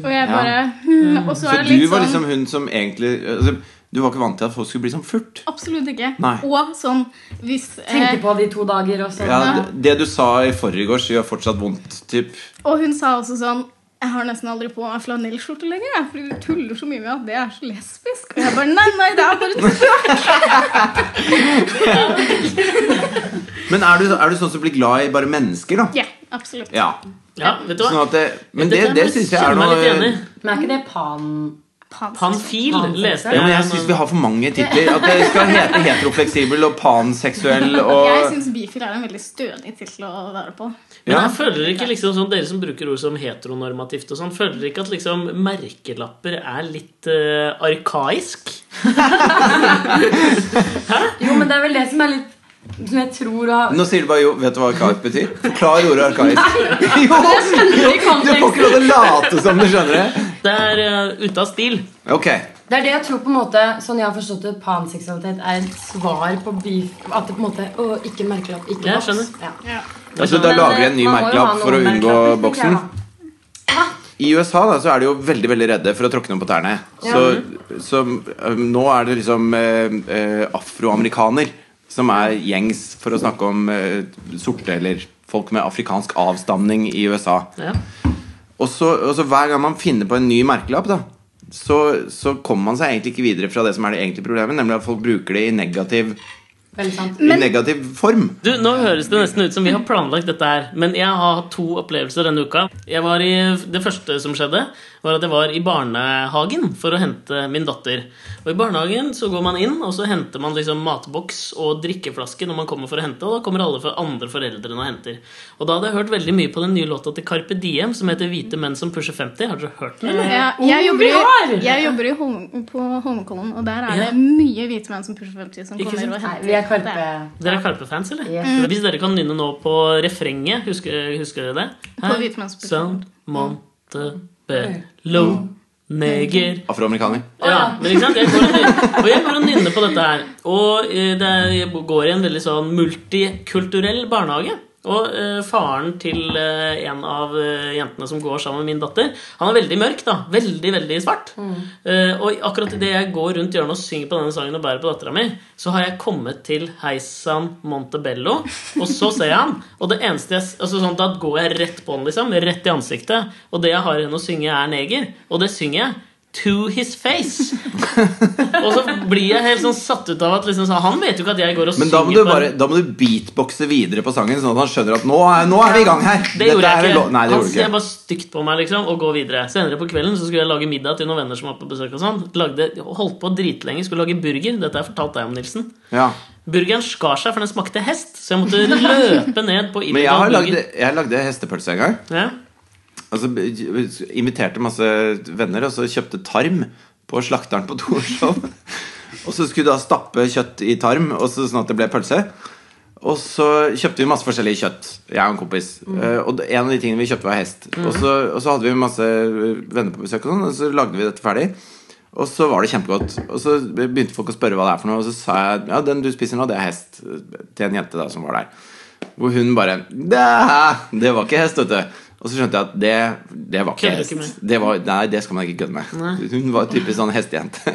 E: jeg
B: Ja.
E: bare hmm, Og så
B: Så
E: er det
B: du
E: litt
B: var
E: sånn
B: liksom hun som egentlig altså, Du var ikke vant til at folk skulle bli sånn furt?
E: Absolutt ikke.
B: Nei.
E: Og sånn hvis eh,
D: Tenkte på det i to dager og sånn. så
B: Ja, det, det du sa i forgårs, gjør fortsatt vondt. Typ.
E: Og hun sa også sånn Jeg har nesten aldri på meg flanellskjorte lenger, jeg, fordi du tuller så mye med at det er så lesbisk. Og jeg bare Nei, nei, det er bare tull.
B: Men er du, er du sånn som blir glad i bare mennesker, da?
E: Ja, absolutt.
B: Ja.
A: Ja, vet du
B: Sånn
A: hva?
B: at det, men det,
A: Dette
B: det syns jeg er
A: kjenner meg litt
B: noe
A: enig.
D: Men er ikke det pan...
E: Pans.
A: Panfil leste
B: ja,
A: jeg.
B: men Jeg syns vi har for mange titler. At det skal hete heterofleksibel og panseksuell
E: Jeg
B: og
E: syns bifil er en veldig stødig tittel å være på.
A: Men
B: Ja.
A: jeg føler ikke liksom sånn, Dere som bruker ord som heteronormativt og sånn, føler dere ikke at liksom merkelapper er litt eh, arkaisk?
D: Jo, men det er vel det som er litt Som jeg tror har
B: Nå sier du bare jo, Vet du hva arkaisk betyr? Forklar ordet arkaisk. Jo, jo,
D: i
B: du får ikke lov til å late som du skjønner det.
A: Det er eh, ute av stil.
B: Ok,
D: Det er det jeg tror på en måte Sånn jeg har forstått det, panseksualitet er et svar på beef At det på en måte Å, ikke merkelapp, ikke
A: Ja,
D: boks.
A: skjønner.
D: Ja.
B: altså Da
D: Men,
B: lager vi
D: eh,
B: en ny
D: man må jo ha
B: merkelapp
D: noen
B: for å unngå
D: merkelapper, tenker
B: boksen.
D: jeg, da.
B: I USA da, så er de jo veldig veldig redde for å tråkke noen på tærne. Så, så eh, nå er det liksom eh, eh, afroamerikaner som er gjengs for å snakke om eh, sorte eller folk med afrikansk avstamning i USA.
A: Ja.
B: Og så, og så hver gang man finner på en ny merkelapp, da, så, så kommer man seg egentlig ikke videre fra det som er det egentlige problemet, nemlig at folk bruker det i negativ
D: Veldig sant.
E: Mm.
B: I negativ form.
A: Du, Nå høres det nesten ut som vi har planlagt dette her, men jeg har hatt to opplevelser denne uka. Jeg var i, det første som skjedde, var at jeg var i barnehagen for å hente min datter. Og I barnehagen så går man inn, og så henter man liksom matboks og drikkeflaske når man kommer for å hente, og da kommer alle for andre foreldrene og henter. Og da hadde jeg hørt veldig mye på den nye låta til Carpe Diem som heter 'Hvite menn som pusher 50'. Har dere hørt den? eller?
E: Ja,
D: Om
E: jeg, jobber
D: vi har!
E: i, jeg jobber i Holm, på Holmenkollen, og der er
A: Ja.
E: det mye hvite menn som pusher 50 som
A: Ikke sant?
E: kommer og
D: Nei,
E: henter.
D: vi er Karpe.
E: Det
A: Dere er Karpe-fans, eller? Mm.
D: Ja.
A: Hvis dere kan nynne nå på refrenget, husker, husker dere det?
E: På hvite menn som pusher
A: Sound Montebello Neger
B: Afroamerikaner.
A: ja, men ikke sant? Jeg går og nynner, og jeg går og nynner på dette her. Og eh, det er, jeg går i en veldig sånn multikulturell barnehage. Og eh, faren til eh, en av eh, jentene som går sammen med min datter, han er veldig mørk. da, Veldig, veldig svart. Eh, og akkurat idet jeg går rundt hjørnet og synger på denne sangen og bærer på dattera mi, så har jeg kommet til Heisan Montebello, og så ser jeg han. Og det eneste jeg, s- altså sånn, Da går jeg rett på han, liksom. Rett i ansiktet. Og det jeg har igjen å synge, er neger. Og det synger jeg. To his face. og så blir jeg helt sånn satt ut av at liksom, sånn, han vet jo ikke at jeg går og
B: Men
A: synger
B: da må, du
A: på en-
B: bare, da må du beatboxe videre på sangen, sånn at han skjønner at nå er, nå er vi i gang her.
A: Det gjorde
B: Dette er
A: jeg
B: lo-
A: ikke.
B: Nei,
A: han
B: det gjorde du
A: ser
B: ikke.
A: bare stygt på meg liksom, og går videre. Senere på kvelden så skulle jeg lage middag til noen venner som var på besøk. og sånn. Lagde, Holdt på dritlenge, skulle lage burger. Dette har jeg fortalt deg om, Nilsen.
B: Ja.
A: Burgeren skar seg, for den smakte hest, så jeg måtte løpe ned på
B: Men jeg har
A: illegal
B: lagd,
A: burger.
B: jeg lagde hestepølse en gang. Altså,
A: Ja.
B: Og så inviterte masse venner, og så kjøpte tarm på slakteren på Torshov. og så skulle du da stappe kjøtt i tarm, og så, sånn at det ble pølse. Og så kjøpte vi masse forskjellig kjøtt, jeg og en kompis.
A: Mm.
B: Eh, og det- en av de tingene vi kjøpte, var hest. Og, så, og så hadde vi masse venner på besøk, og, sånn, og så lagde vi dette ferdig. Og så var det kjempegodt. Og så begynte folk å spørre hva det er for noe, og så sa jeg ja, den du spiser nå, det er hest. Til en jente da som var der. Hvor hun bare Dæ! Det var ikke hest, vet du. Og så skjønte jeg at det, det var ikke
A: Kødder
B: hest.
A: ikke med.
B: Det var, nei, det skal man ikke kødde med. Hun var typisk sånn hestejente.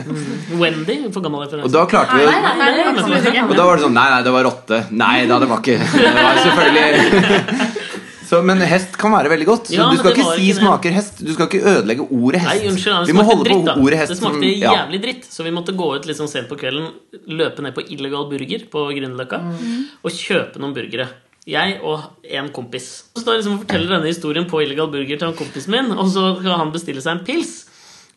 A: Wendy, for gammel
B: Og
A: referanse.
B: da klarte vi å
E: Nei, det er absolutt ikke.
B: Og da var det sånn Nei, nei, det var rotte. Nei da, det var ikke Det var selvfølgelig så, men hest kan være veldig godt. Så
A: Ja,
B: du
A: men
B: skal
A: det
B: ikke
A: var
B: si
A: ikke det.
B: 'smaker hest'. Du skal ikke ødelegge ordet hest.
A: Nei, unnskyld, det
B: vi må
A: smakte
B: holde
A: dritt,
B: på
A: da.
B: ordet hest.
A: Det smakte
B: som- ja.
A: jævlig dritt, så vi måtte gå ut litt sånn sent på kvelden, løpe ned på illegal burger på Grünerløkka og kjøpe noen burgere. Jeg og en kompis. Så står jeg liksom og forteller denne historien på illegal burger til han kompisen min, og så skal han bestille seg en pils.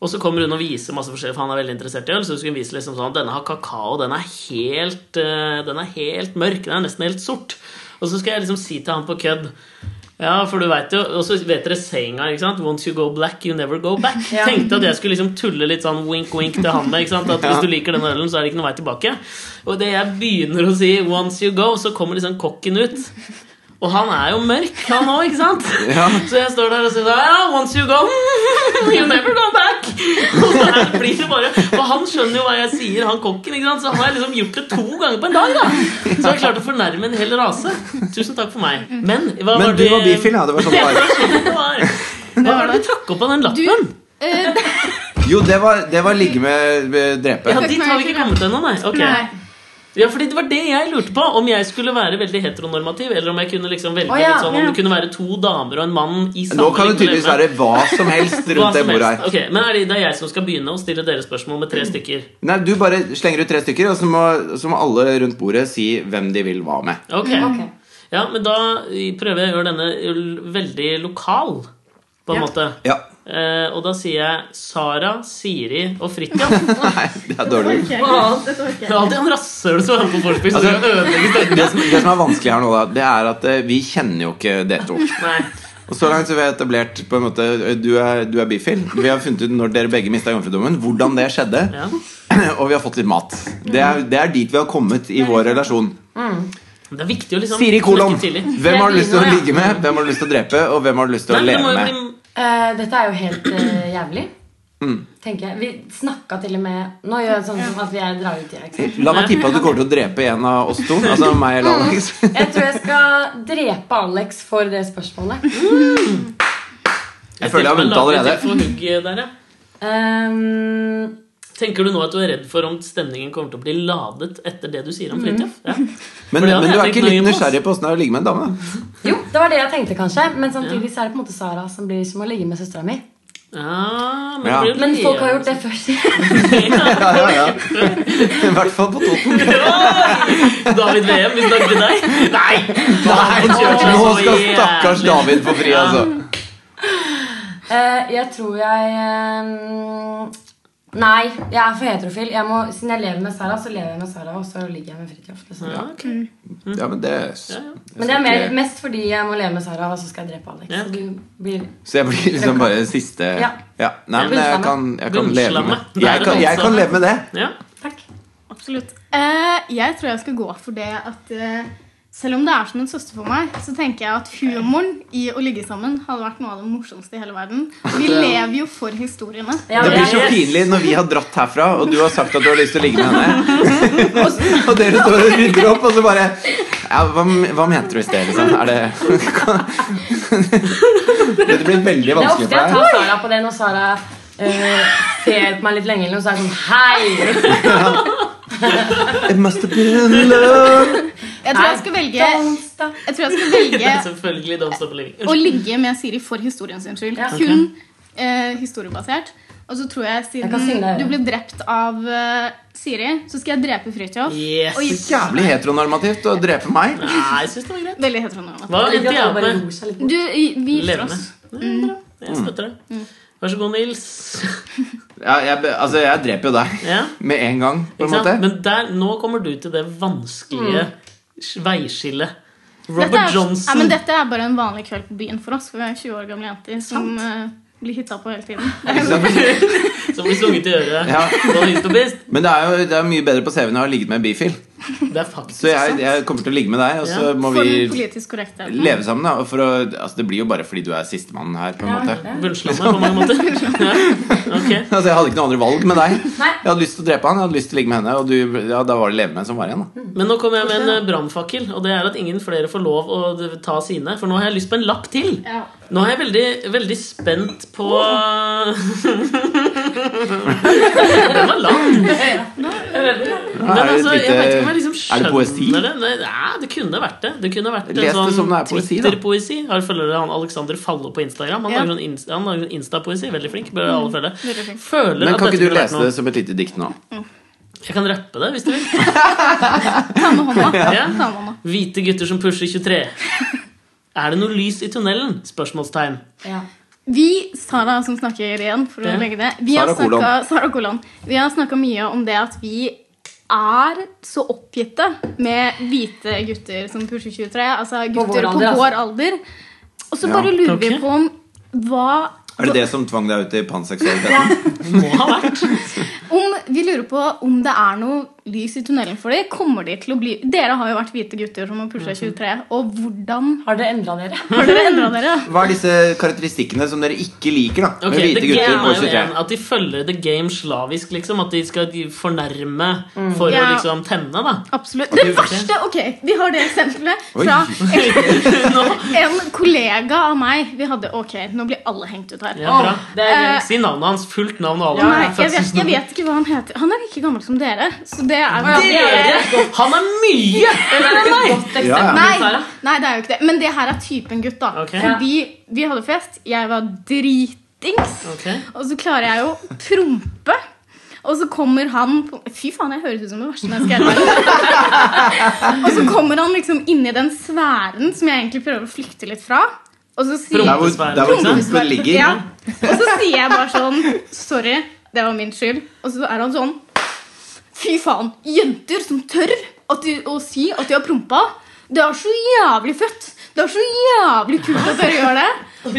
A: Og så kommer hun og viser masse forskjellig, for han er veldig interessert i øl. Så hun skulle vise liksom sånn, denne har kakao, den er helt, eh, den er helt mørk, den er nesten helt sort. Og så skal jeg liksom si til han på kødd ja, for du vet jo, og så vet dere sayinga, ikke sant? Once you go black, you never go back. Tenkte at jeg skulle liksom tulle litt sånn wink-wink til han med, ikke sant? At hvis du liker den ølen, så er det ikke noen vei tilbake. Og det jeg begynner å si, once you go, så kommer liksom kokken ut. Og han er jo mørk, han òg, ikke sant?
B: Ja.
A: Så jeg står der og sier sånn Ja, once you go, you never go back. Og så er det, blir det bare For han skjønner jo hva jeg sier, han kokken. ikke sant? Så har jeg liksom gjort det to ganger på en dag. da Så jeg har klart å fornærme en hel rase. Tusen takk for meg. Men hva
B: Men
A: var
B: du
A: det
B: var bifil, ja. Det var sånn det var.
A: Hva var det du trakk opp av den lappen?
E: eh,
B: Jo, det var, det var ligge med med drepe.
A: Ja, dit har vi ikke kommet ennå, nei. Ok.
E: Nei.
A: Ja, fordi det var det jeg lurte på. Om jeg skulle være veldig heteronormativ, eller om jeg kunne liksom velge
D: Å, ja,
A: litt sånn
D: ja.
A: Om det kunne være to damer og en mann i samme
B: Nå kan det tydeligvis
A: lemme.
B: være hva som helst
A: Hva
B: rundt det
A: som
B: bordet
A: helst.
B: her.
A: Ok, men er det, det er jeg som skal begynne å stille dere spørsmål med tre
D: Mm.
A: stykker.
B: Nei, Du bare slenger ut tre stykker, og så må, så må alle rundt bordet si hvem de vil hva med.
A: Ok.
D: Mm. Ok.
A: Ja, men da prøver jeg å gjøre denne l- veldig lokal, på en
D: Ja.
A: måte.
B: Ja,
A: Eh, og da sier jeg Sara, Siri og Fridtjof.
B: Nei, det er dårlig.
A: Det er alltid en rasshøl som hører på vorspiel. så
B: Altså-
A: det ødelegger stemningen.
B: Det som, det som er vanskelig her nå, da, det er at eh, vi kjenner jo ikke dere to.
A: Nei.
B: Og så langt så vi har etablert på en måte eh, Du er, du er bifil. Vi har funnet ut når dere begge mista jomfrudommen, hvordan det skjedde.
A: Ja.
B: Og vi har fått litt mat. Det er, det er dit vi har kommet i vår relasjon.
A: Det er viktig å liksom
B: Siri kolon.
A: snakke tidlig.
B: Hvem har du lyst til å ligge med, hvem har du lyst til å drepe, og hvem har du lyst til
A: Nei, men
B: å
A: det må jo
B: leve med?
A: bli-
D: Eh, dette er jo helt eh, jævlig.
B: Mm.
D: Tenker jeg. Vi snakka til og med Nå gjør jeg sånn som at vi er drar ut i ikke sant?
B: La meg tippe at du kommer til å drepe en av oss to. Altså meg eller Alex.
D: Jeg tror jeg skal drepe Alex for det spørsmålet.
B: Jeg føler jeg har vunnet
A: Jeg
B: allerede.
A: tenker meg å lage et hugg der, ja.
D: Ehm,
A: Tenker du nå at du er redd for om stemningen kommer til å bli ladet etter det du sier om
B: Mm.
A: Fridtjof? Ja.
B: Men,
A: For det hadde
B: men du
A: jeg
B: er
A: tenkt
B: ikke
A: nøye
B: litt
A: på, ass.
B: nysgjerrig på åssen det er å ligge med en dame? da?
D: jo, det var det jeg tenkte, kanskje. Men samtidig så er det på en måte Sara som blir som å ligge med søstera mi.
A: Ja, Ah, men,
B: Ja.
A: det blir jo
D: Men folk
A: litt-
D: har gjort det før.
B: Ja, ja, ja. I hvert fall på Toten.
A: David VM, vi snakker til deg. Nei!
B: Nei,
A: han kjørte seg
B: nå
A: så
B: skal
A: jævlig.
B: stakkars David få fri, altså.
D: Eh, jeg tror jeg eh, Nei, jeg er for heterofil. Jeg må, siden jeg lever med Sara, så lever jeg med Sara, og så ligger jeg med Fridtjof. Liksom.
A: Ja, ok.
B: Ja, men det
D: Men det er mer, mest fordi jeg må leve med Sara, og så skal jeg drepe Alex.
A: Ja.
D: Så du blir
B: Så jeg blir liksom bare den siste
D: Ja.
B: ja. Nei, men jeg kan, jeg kan leve
A: Bunnslammet.
B: med jeg kan, jeg
D: altså-
B: kan leve med det.
A: Ja.
D: Takk.
E: Absolutt. Eh, jeg tror jeg skal gå for det at eh, selv om det er som en søster for meg, så tenker jeg at humoren i å ligge sammen hadde vært noe av det morsomste i hele verden. Vi lever jo for historiene.
D: Ja,
B: Det
D: men
B: blir så
D: jeg-
B: pinlig når vi har dratt herfra, og du har sagt at du har lyst til å ligge med henne. Og dere står og rydder opp, og så bare ja, hva, hva mente du i sted, liksom? Er det Dette blir veldig
D: Det er
B: vanskelig
D: ofte jeg
B: for
D: tar Sara på det når Sara eh, ser på meg litt lenge, eller noe, så er jeg sånn Hei!
B: deg. It must have been love.
E: Jeg tror jeg skal velge,
D: Don't stop.
E: jeg tror jeg skal velge
A: Selvfølgelig Don't Stop Living.
E: å ligge med Siri for historiens skyld.
D: Ja.
E: Kun eh, historiebasert. Og så tror jeg
D: Jeg kan synge
E: siden
D: deg,
E: du
D: ja.
E: ble drept av eh, Siri, så skal jeg drepe Fridtjof.
A: Yes.
E: Oi.
B: Jævlig heteronormativt å drepe meg.
A: Nei, jeg syns det var greit.
E: Veldig heteronormativt.
A: Hva
D: Jeg
A: endte
D: liker at
A: jeg
D: alle
A: opp
D: bare
A: med?
D: ror seg litt bort.
E: Du, i- vi gifter
A: Levende.
E: oss.
A: Nei,
E: Mm.
A: bra. Jeg støtter det. Vær så god, Nils.
B: Ja, jeg, be- altså, jeg dreper jo deg
A: Ja,
B: med en gang, på
A: ikke
B: en
A: sant?
B: måte.
A: Men der, nå kommer du til det vanskelige s- veiskillet.
E: Mm. Dette
A: Robert
E: er,
A: Johnson.
E: Ja, men dette er bare en vanlig kveld på byen for oss, for vi er 20 år gamle jenter som eh, blir hitta på hele tiden.
A: Som blir sunget i øret.
B: Ja.
A: Nå er histopist.
B: Men det er jo det er mye bedre på CV-en å ha ligget med en bifil.
A: Det er faktisk
B: Så jeg, jeg kommer til å ligge med deg, og så
A: Ja.
B: må
E: For den
B: vi
E: politisk korrekte.
B: leve sammen. da og for å, altså, Det blir jo bare fordi du er sistemann her. på en
D: Ja,
B: måte
D: ja.
A: Bunnslandet på mange måter. Ja. Ok.
B: Altså Jeg hadde ikke noe andre valg med deg.
D: Nei.
B: Jeg hadde lyst til å drepe han, jeg hadde lyst til å ligge med henne. Og du, ja, da var det leve med som var igjen. da
A: Men nå kommer jeg med en eh, brannfakkel, og det er at ingen flere får lov å d- ta sine. For nå har jeg lyst på en lapp til.
E: Ja.
A: Nå er jeg veldig, veldig spent på Den var lang.
B: Nå
A: Men
B: er det et
A: altså, jeg vet ikke om
B: lite-
A: jeg liksom
B: er det
A: skjønner
B: poesi?
A: det. Nei, nei, det kunne vært det. Det kunne vært en
B: Les det
A: sånn
B: som det er poesi, da.
A: Twitter-poesi. Har følger han Alexander Fallo på Instagram. Han
E: Ja.
A: lager sånn inst- han lager sånn Insta-poesi. Veldig flink. Bør alle følge.
E: veldig flink.
A: Føler
B: Mm, Men
A: at
B: kan
A: dette
B: ikke du
A: kunne vært
B: lese
A: noe.
B: det som et lite dikt nå?
A: Jeg kan rappe det, hvis du vil.
E: Ta med hånda.
A: Ja.
E: Ta med hånda.
A: Hvite gutter som pusher 23. Er det noe lys i tunnelen? Spørsmålstegn.
D: Ja.
E: Vi, Sara som snakker igjen, for å
A: Ja.
E: legge det vi
B: Sara
E: har snakket-
B: Kolon.
E: Sara Kolon. Vi har snakka mye om det at vi er så oppgitte med hvite gutter som pusher 23, altså gutter på
D: vår
E: vår
D: alder,
E: alder.
D: altså.
E: Og så
B: Ja.
E: bare lurer
A: Ok.
E: vi på om hva
B: Er det det som tvang deg ut i panseksualiteten?
A: Må ha vært.
E: Om vi lurer på om det er noe lys i tunnelen for dem. Kommer de til å bli Dere har jo vært hvite gutter som har pusha 23. Og hvordan
D: Har dere endra dere?
E: har dere endra dere?
B: Hva er disse karakteristikkene som dere ikke liker da
A: Ok,
B: med hvite
A: the
B: gutter
A: game
B: på
A: er jo
B: 23?
A: en, At de følger the game slavisk, liksom. At de skal de fornærme for å
E: Ja.
A: liksom tenne, da.
E: Absolutt. Det verste Ok, vi har det eksempelet fra en, en kollega av meg. Vi hadde Ok, nå blir alle hengt ut her.
A: Ja, bra.
D: Det er gøy.
E: Eh,
A: Si navnet hans. Fullt navn og
E: Nei,
A: alder.
E: jeg vet, jeg vet ikke hva han heter. Han er like gammel som dere. Så det er
A: Dere! Han er mye!
D: Det er et godt
B: Ja, ja.
D: eksempel,
E: Nei,
D: Sara.
E: nei, det er jo ikke det. Men det her er typen gutt, da.
A: Ok.
E: Fordi vi hadde fest. Jeg var dritings.
A: Ok.
E: Og så klarer jeg jo å prompe. Og så kommer han på- Fy faen, jeg høres ut som det verste mennesket i hele verden. og så kommer han liksom inni den sfæren som jeg egentlig prøver å flykte litt fra. Og så sier
B: Der hvor, der hvor prompen ligger?
E: ja. Og så sier jeg bare sånn Sorry, det var min skyld. Og så er han sånn Fy faen, jenter som tør at de, å si at de har prompa. Det er så jævlig fett. Det er så jævlig kult at dere gjør det.
B: Og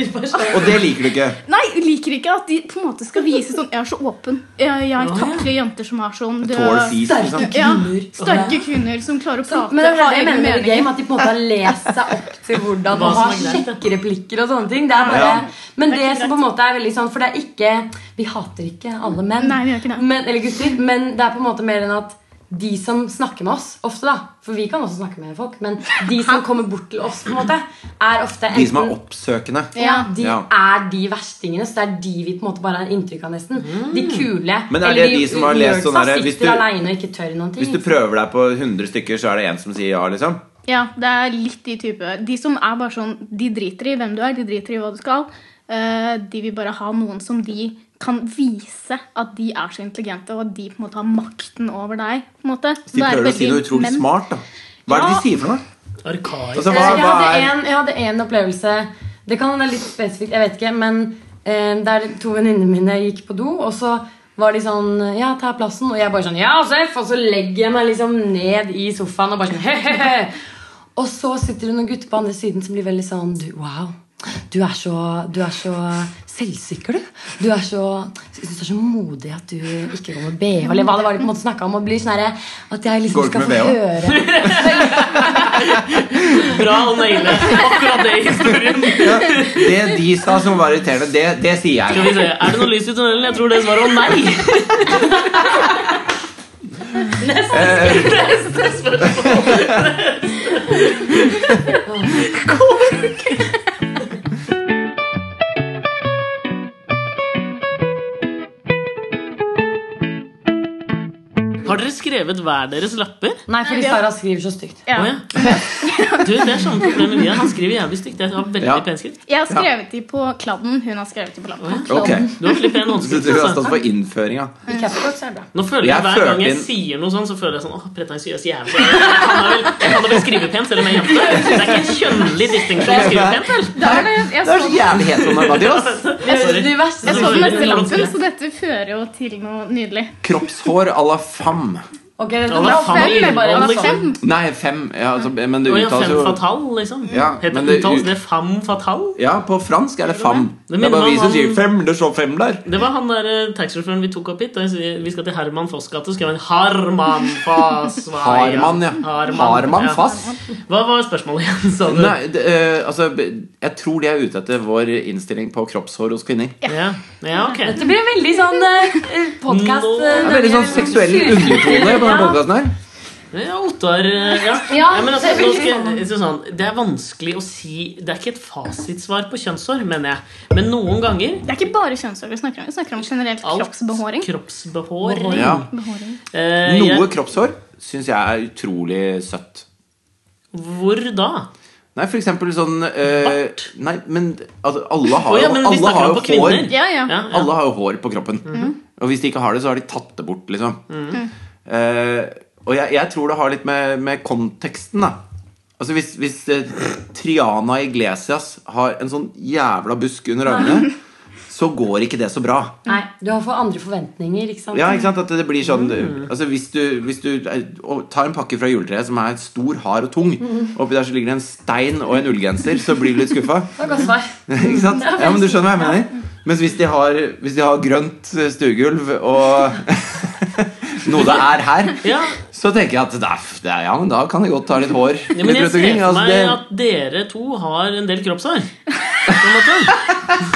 B: det liker du ikke?
E: Nei, jeg liker ikke at de på en måte skal vise sånn Jeg er så åpen. Jeg, jeg takler jenter som er sånn det-
B: Tall seas, liksom.
E: ja,
D: Kvinner.
E: sterke kvinner som klarer å prate.
D: Men det er det
E: ha
D: jeg
E: egne
D: mener med
E: meninger.
D: game, at de på en måte har lest seg opp til hvordan
A: Hva
D: man
A: som
D: har
A: er greit, ja.
D: sjekkereplikker og sånne ting. Det er bare,
B: Ja.
D: men
E: Det er
D: det
E: ikke
D: som på en måte er veldig sånn For det er ikke Vi hater ikke alle menn
E: Nei, vi gjør ikke det.
D: men, eller gutter, men det er på en måte mer enn at de som snakker med oss ofte, da For vi kan også snakke med folk, men de som kommer bort til oss, på en måte er ofte
B: De som er
D: enten-
B: oppsøkende?
D: ja, de
B: Ja.
D: er de verstingene, så det er de vi på en måte bare har inntrykk av. nesten De kule.
B: Men er
D: eller
B: det de som har lest
D: nerdsa
B: sånn der, hvis
D: sitter
B: du-
D: alene og ikke tør noen ting.
B: Hvis du prøver deg på 100 stykker, så er det én som sier ja, liksom?
E: Ja, det er litt de type De som er bare sånn De driter i hvem du er, de driter i hva du skal. Eh, de vil bare ha noen som de kan vise at de er så intelligente, og at de på en måte har makten over deg. på en måte.
B: De
E: Det er
B: prøver å si
E: veldig
B: noe utrolig
E: menn.
B: smart, da. Hva er det
E: Ja.
B: de sier for noe?
A: Arkaisk.
B: Altså, hva,
D: Eh, jeg,
B: hva
D: hadde
B: er
D: en, jeg hadde en opplevelse Det kan være litt spesifikt, jeg vet ikke Men eh, der to venninner mine gikk på do Og så var de sånn Ja, ta plassen Og jeg bare sånn, ja, sjef Og så legger jeg meg liksom ned i sofaen Og bare sånn, hehehe Og så sitter det noen gutter på andre siden Som blir veldig sånn, du, wow du er, så, du er så selvsikker du Du er så, jeg synes du er så modig At du ikke går med BH Eller hva det var de på en måte snakket om Og blir sånn her At jeg
B: Går du
D: liksom
B: ikke
D: skal få
B: med BH?
D: høre
A: Bra å naile akkurat det i historien.
B: ja, Det de sa som var irriterende, det, det sier
A: Skal vi
B: jeg.
A: se, Er det noe lys i tunnelen? Jeg tror det svaret var nei.
B: Eh,
A: Neste spørsmål. Har dere skrevet hver deres lapper?
D: Nei, fordi Sara skriver så stygt.
E: Ja.
A: Å ja. Du, Det er samme problem med Lian. Han skriver jævlig stygt. Jeg har veldig
B: Ja.
A: pen skrift.
E: Jeg har skrevet de på kladden, hun har skrevet de på lappen.
B: ok,
A: Du har veldig pen
B: Så
A: håndskrift.
B: du har
A: altså.
B: stått for innføringa.
D: I Capsbox er det bra.
A: Nå føler jeg,
B: Jeg
A: Hver
B: følte
A: gang jeg
B: inn-
A: sier noe sånn, så føler jeg sånn Åh, pretensiøs jævel. Jeg kan da vel, jeg kan da vel skrive pent, selv om jeg er jente. Det er ikke en kjønnlig distinksjon å skrive pent, vel?
E: Da er det, jeg
B: Det er så
E: så,
B: jævlig heteronormativ, ass.
A: Sorry.
D: Det verste
E: jeg
D: som
E: så den neste
A: Sorry.
E: lappen, så dette fører jo til noe nydelig.
B: Kroppshår à la fam.
D: Ok, det
A: Ja, hva faen
E: Fem,
A: er
E: eller bare
A: innhold,
E: en av
A: liksom?
E: fem.
B: Nei, fem. Ja, altså, men det
A: Å ja,
B: uttales
A: fem
B: jo
A: fatal, liksom?
B: Ja,
A: Heter
B: men
A: det,
B: det-
A: uttales det fam fatal?
B: Ja, på fransk er det fam.
A: Det
B: Det er
A: minner
B: bare vi
A: meg om
B: som sier
A: han-
B: fem. Det står fem der.
A: Det var han der eh, taxisjåføren vi tok opp hit. Da jeg sier, vi skal til Herman Foss gate, så skrev han Harman Fass. Hva er han?
B: Harman, ja.
A: Harman,
B: Harman
A: ja.
B: Fass.
A: Hva var spørsmålet igjen, sa du?
B: Nei, det, eh, altså, jeg tror de er ute etter vår innstilling på kroppshår hos kvinner.
A: Ja, ja ok.
D: Dette blir veldig sånn eh, podcast
A: Nå-
D: eh,
B: Det er veldig sånn seksuell undertone på denne podkasten her.
A: Ja, Ottar eh, ja.
D: Ja,
A: Nei, men altså, nå
D: det er veldig
A: skal jeg-
D: sånn.
A: jeg synes sånn, Det er vanskelig å si Det er ikke et fasitsvar på kjønnshår, mener jeg. Men noen ganger
E: Det er ikke bare kjønnshår vi snakker om. Vi snakker om generelt
A: alt
E: kroppsbehåring.
A: Kroppsbehåring.
B: Ja.
E: Behåring.
A: Eh,
B: Noe
A: jeg,
B: kroppshår syns jeg er utrolig søtt.
A: hvor da?
B: Nei, for eksempel sånn eh,
A: Bart.
B: Nei, men altså, alle
A: Å
B: har
A: ja,
B: jo,
A: men vi
B: alle
A: snakker
B: har
A: om
B: jo
A: på
B: hår.
A: kvinner.
E: Ja,
A: Ja,
E: ja.
A: Mhm. ja.
B: Alle har jo hår på kroppen. Og hvis de ikke har det, så har de tatt det bort, liksom.
A: Mhm.
B: Eh, og jeg, jeg tror det har litt med, med konteksten, da. Altså Hvis, hvis eh, Triana Iglesias har en sånn jævla busk under armene, så går ikke det så bra.
D: Nei, du har for andre forventninger, ikke sant?
B: Ja, ikke sant? At det blir sånn
A: Mm.
B: Altså Hvis du, hvis du eh, og tar en pakke fra juletreet som er stor, hard og tung,
A: Mm.
B: oppi der så ligger det en stein og en ullgenser, så blir du litt skuffa.
D: Det var godt svar.
B: Ikke sant?
D: Ja,
B: Ja, men du skjønner hva jeg mener. Mens hvis de har, hvis de har grønt eh, stuegulv og noe det er her,
A: Ja,
B: så tenker jeg at det er, det er, ja, men da kan det godt ta litt hår.
A: ja, men
B: litt
A: jeg
B: rundt
A: ser
B: omkring.
A: for
B: Altså,
A: meg
B: det,
A: at dere to har en del kroppshår. På en måte.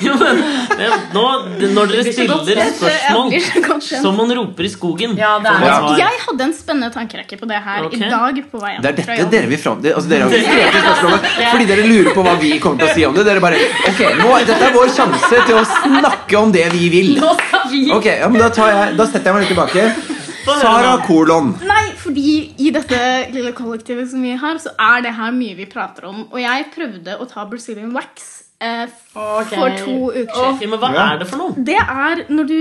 A: Jo, men, det, nå, det- når dere
D: så godt
A: stiller
E: Jeg blir
A: spørsmål
E: så godt kjent.
A: som man roper i skogen
D: Ja, det
A: får man
B: er-
A: svar.
E: Jeg hadde en spennende tankerekke på det her
A: Ok.
E: i dag på vei hjem
B: det er
E: fra
B: dette
E: jobb.
B: dere vil fram det, altså, Dere har jo ikke skrevet spørsmålet fordi dere lurer på hva vi kommer til å si om det. Dere bare Ok, nå, dette er vår sjanse til å snakke om det vi vil.
D: Nå skal vi
B: Ok, ja, men da, tar jeg, da setter jeg meg litt tilbake.
A: Få høre
B: Sara
A: nå.
B: kolon.
E: Nei, fordi i dette lille kollektivet som vi har, så er det her mye vi prater om. Og jeg prøvde å ta Brazilian wax eh,
D: Ok.
E: for to uker siden.
A: Ja, men hva
B: Ja.
A: er det for noe?
E: Det er når du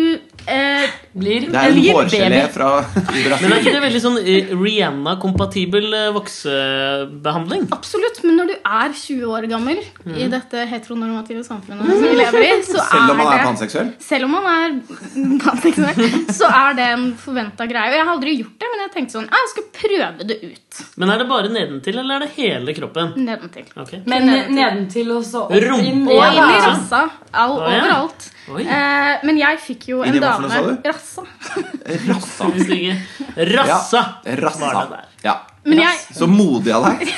E: eh,
D: blir
B: Det er en
D: blir
B: hårgelé
D: baby.
B: fra
A: Men er
B: Brasil.
A: ikke det veldig sånn eh, Rihanna-kompatibel eh, voksebehandling?
E: Absolutt, men når du er 20 år gammel i dette heteronormative samfunnet som vi lever i, så
B: Selv om man er
E: det-
B: panseksuell?
E: Selv om man er panseksuell, så er det en forventa greie. Og jeg har aldri gjort det, men jeg tenkte sånn, «Ah, jeg skal prøve det ut
A: Men er det bare nedentil, eller er det hele kroppen?
E: nedentil.
A: Ok.
D: Men nedentil og så opp
A: Rumpa
D: inn-
A: og
E: Og
A: Ja,
E: inn i
A: ja.
E: rassa. All,
A: Å, ja.
E: overalt.
A: Oi.
E: Eh, men jeg fikk jo
B: Inn
E: en
B: i hva for
E: dame
B: noe, sa du?
E: Rassa.
B: Rassa.
A: Hvis det ikke- Rassa!
B: Ja,
A: Var det
B: rassa.
A: der.
B: Ja.
E: Men jeg,
B: Så modig av deg.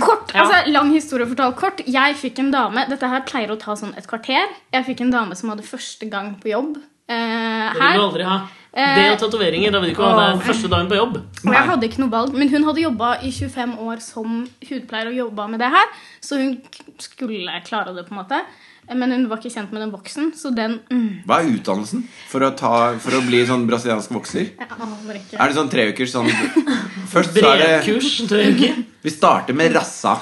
E: kort,
D: Ja.
E: altså Lang historie fortalt kort. Jeg fikk en dame Dette her pleier å ta sånn et kvarter. Jeg fikk en dame som hadde første gang på jobb eh,
A: Det vil
E: her.
A: du aldri ha.
E: Eh,
A: Det og tatoveringer. Da vil du ikke ha det første dagen på jobb.
E: Og
B: Nei.
E: jeg hadde ikke noe valg, men hun hadde jobba i 25 år som hudpleier og jobba med det her, så hun k- skulle klare det, på en måte. Eh, Men hun var ikke kjent med den voksen, så den mm,
B: Hva er utdannelsen for å, ta, for å bli sånn brasiliansk vokser?
E: Jeg aner ikke.
B: Er det sånn tre ukers sånn Først så er det
A: Brevkurs. tror jeg ikke.
B: Vi starter med rassa.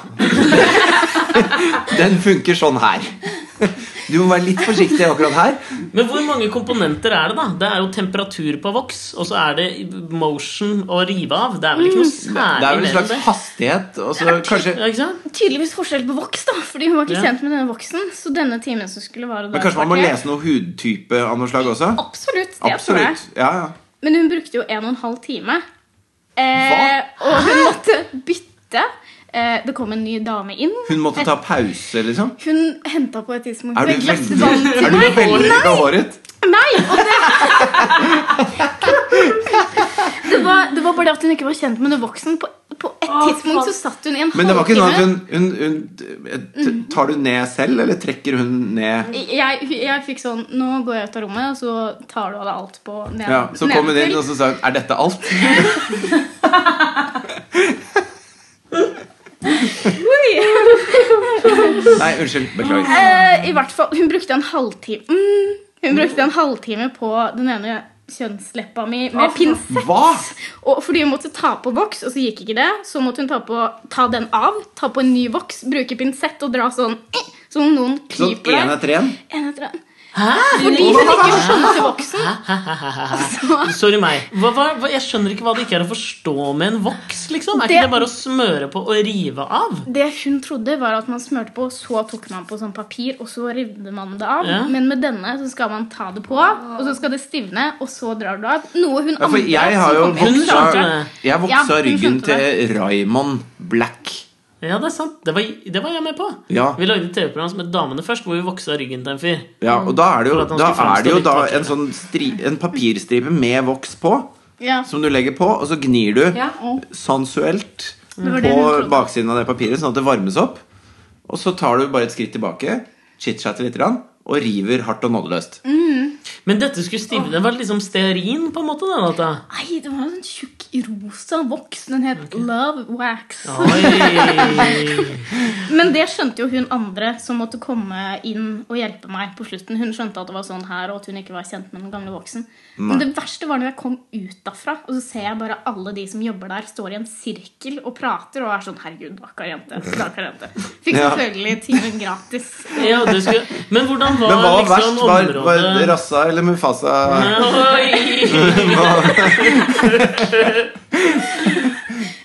B: Den funker sånn her. Du må være litt forsiktig akkurat her.
A: Men hvor mange komponenter er det, da? Det er jo temperatur på voks, og så er det motion å rive av. Det er vel ikke noe
E: Mm.
B: Det
A: særlig
B: er vel en
A: mer enn
B: slags
A: det?
B: hastighet. Og så kanskje,
A: Ja, ikke sant?
E: Tydeligvis forskjell på voks, da. Fordi hun var ikke
A: Ja.
E: kjent med denne voksen. Så denne timen som skulle vare
B: men kanskje man må lese noe hudtype av noe slag også?
E: Absolutt. det tror jeg
B: Absolutt. Ja, ja.
E: Men hun brukte jo en og en halv time. Eh, og hun måtte bytte. Eh, det kom en ny dame inn.
B: Hun måtte ta pause, liksom?
E: Hun henta på et tidspunkt
B: Er du
E: et glass
B: veldig,
E: vann til
B: er du veldig behåret?
E: Nei! Og det, det, var, det var bare det at hun ikke var kjent med den voksen. På, på et tidspunkt så satt hun i en
B: Men det var ikke sånn at
E: halvtime.
B: hun, hun, hun t-
E: Mm.
B: Tar du ned selv, eller trekker hun ned?
E: Jeg, jeg fikk sånn Nå går jeg ut av rommet, og så tar du av deg alt på ned,
B: Ja, så kom hun inn og så sa hun, 'Er dette alt?' Nei, unnskyld. Beklager.
E: Eh, I hvert fall, hun brukte en halvtime mm, Hun brukte en halvtime på den ene kjønnsleppa mi med pinsett.
B: Hva?
E: Og fordi hun måtte ta på voks, og så gikk ikke det, så måtte hun ta, på, ta den av, ta på en ny voks, bruke pinsett og dra sånn eh, Som om noen
B: Sånn
E: klyper
B: én
E: deg.
B: etter én?
E: En etter en. Fordi hun ikke skjønte voksen. Altså-
A: Sorry meg. Hva, hva, hva, jeg skjønner ikke hva det ikke er å forstå med en voks, liksom. Er
E: Det-
A: ikke det bare å smøre på og rive av?
E: Det hun trodde, var at man smurte på, så tok man på sånn papir, og så rivde man det av.
A: Ja.
E: Men med denne så skal man ta det på, og så skal det stivne, og så drar du det av. Noe hun
B: Ja, for
E: andre
B: jeg har
E: som
B: jo
E: kom inn-
A: Hun
B: voksa,
A: skjønte det.
B: jeg voksa
E: Ja, hun
B: ryggen
E: skjønte
B: til Raymond Black.
A: Ja, det er sant. Det var, det var jeg med på.
B: Ja.
A: Vi lagde et TV-program som het Damene først, hvor vi voksa ryggen til en fyr.
B: Ja, og da er det
A: For
B: jo
A: at han
B: da,
A: skulle
B: er det jo
A: fremstå
B: da
A: litt
B: en, sånn stri, en papirstripe med voks på,
E: Ja.
B: som du legger på, og så gnir du
D: Ja.
B: sensuelt
E: var det
B: på
E: hun trodde.
B: baksiden av det papiret, sånn at det varmes opp. Og så tar du bare et skritt tilbake, chit-chatter litt, grann, og river hardt og nådeløst.
A: Mm. Men dette skulle stivne. Det var liksom stearin, på en måte? Den, dette.
E: Nei, det var en sånn tjukk rosa voks. Den het Love Wax.
A: Oi.
E: Men det skjønte jo hun andre som måtte komme inn og hjelpe meg på slutten. Hun skjønte at det var sånn her, og at hun ikke var kjent med den gamle voksen. Men det verste var når jeg kom ut derfra, og så ser jeg bare alle de som jobber der, står i en sirkel og prater og er sånn Herregud, vakker jente. Vakker jente. Fikk
B: Ja.
E: selvfølgelig timen gratis.
A: Ja, det skulle... Men hvordan var,
B: Men hva var
A: liksom
B: verst? Var, var
A: området
B: Rassa eller Mufasa?
A: Oi.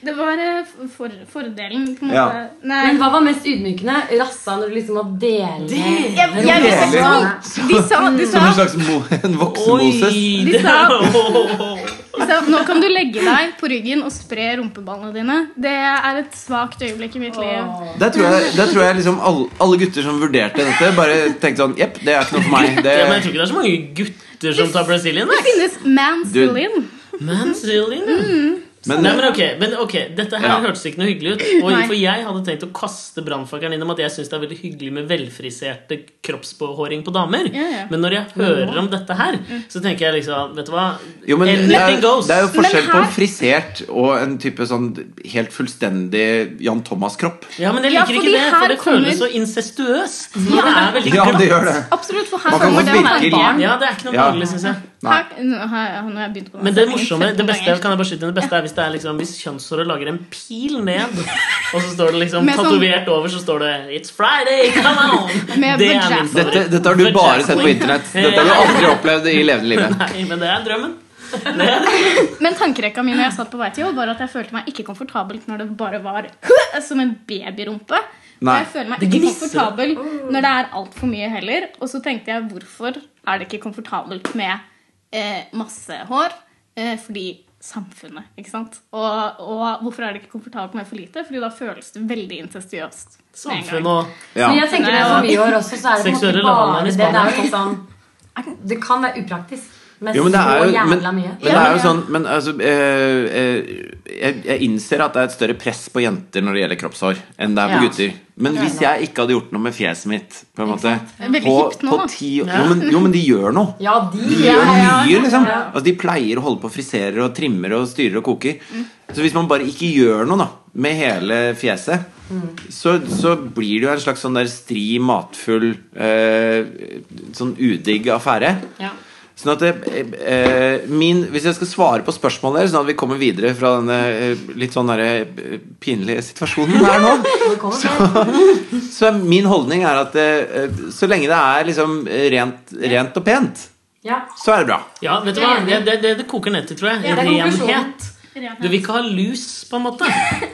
E: Det var eh, for, fordelen, på en måte.
B: Ja.
E: Nei.
D: Men hva var mest ydmykende? Rassa når du liksom må dele
A: Det-
E: Jeg, jeg,
B: Det var
E: de sa, de sa,
B: Som en slags mo, en voksen Moses?
A: Oi.
E: De
A: det-
E: sa-
A: Åh.
E: Så nå kan du legge deg på ryggen og spre rumpeballene dine. Det er et svakt øyeblikk i mitt liv.
B: Der tror jeg, der tror jeg liksom alle, alle gutter som vurderte dette, bare tenkte sånn Jepp, det er ikke noe for meg. Det,
A: Ja, men jeg tror ikke det er så mange gutter som tar Brazilian.
E: Det finnes mansfill-in.
A: Brazilian.
E: Mm.
B: men,
A: Nei, men ok, men ok, Dette her
B: Ja.
A: hørtes ikke noe hyggelig ut. Og
E: Nei.
A: for jeg hadde tenkt å kaste brannfakkelen innom at jeg syns det er veldig hyggelig med velfriserte kroppsbehåring på damer.
E: Ja, ja. Mm.
A: Men når jeg hører om dette her, så tenker jeg liksom Vet du hva?
B: jo, men det er,
A: Anything goes.
B: det er jo forskjell
E: Men
B: på
E: her-
B: frisert og en type sånn helt fullstendig Jan Thomas-kropp.
A: Ja, men jeg
E: Ja,
A: liker ikke
E: fordi
A: det, for
E: her
A: det føles
E: kommer-
A: så incestuøst. Når det er veldig
B: Ja,
A: glatt.
B: det gjør det.
E: Absolutt, for her
B: Man kan
E: kommer
B: godt
E: det å være
B: virkelig-
E: barn.
A: Ja, det er ikke noe
B: Ja.
A: behagelig, syns jeg.
B: Nei.
E: Her, nå har jeg- nå har jeg begynt på
A: Men det morsomme, det beste
E: jeg
A: kan jeg bare skyte inn, det beste er hvis det er liksom Hvis kjønnshåret lager en pil ned, og så står det liksom
E: Med sånn-
A: tatovert over, så står det 'It's Friday, come on'!
E: Med
A: Det er
E: vagina.
A: min favoritt.
B: Dette, dette har du bare sett på internett. Dette har du aldri opplevd i levende livet.
A: Nei, men det er drømmen.
E: Men tankerekka mi når jeg satt på vei til jobb, var at jeg følte meg ikke komfortabel når det bare var som en babyrumpe. Og
B: Nei.
E: jeg føler meg
A: Det
E: ikke
A: gnisser.
E: komfortabel når det er altfor mye heller. Og så tenkte jeg hvorfor er det ikke komfortabelt med eh, masse hår? Eh, fordi samfunnet, ikke sant? Og, og hvorfor er det ikke komfortabelt med for lite? Fordi da føles det veldig incestuøst. med en gang.
A: Samfunn og
B: Ja.
D: Men jeg tenker det er så mye år også, så er det på en
A: Seksuelle
D: måte bare
A: lavvann i
D: det. Det,
A: Spania.
D: er jo litt sånn, det kan være upraktisk, men,
B: Jo, men det er jo,
D: så
B: men,
D: jævla
B: men
D: mye.
B: det er jo sånn Men altså eh, eh, jeg, jeg innser at det er et større press på jenter når det gjelder kroppshår, enn det er på
D: Ja.
B: gutter. Men hvis jeg ikke hadde gjort noe med fjeset mitt på en måte
E: er veldig
B: på,
E: hipt nå,
B: på
E: da.
B: ti, jo, men, jo, men de gjør noe.
D: Ja, de
B: De gjør
D: ja, ja.
B: mye, liksom.
D: Ja.
B: Altså, de pleier å holde på og friserer og trimmer og styrer og koker. Så hvis man bare ikke gjør noe da med hele fjeset, så, så blir det jo en slags sånn der stri, matfull, eh, sånn udigg affære.
D: Ja.
B: Sånn at det, eh, min, Hvis jeg skal svare på spørsmålet her, sånn at vi kommer videre fra denne eh, litt sånn derre, eh, pinlige situasjonen her nå, så er min holdning er at eh, så lenge det er liksom rent, rent og pent,
D: Ja.
B: så er det bra.
A: Ja, vet du hva? Det det, det, det koker ned til, tror jeg.
D: Ja, det er konklusjonen.
A: Renhet. Du vil ikke ha lus, på en måte.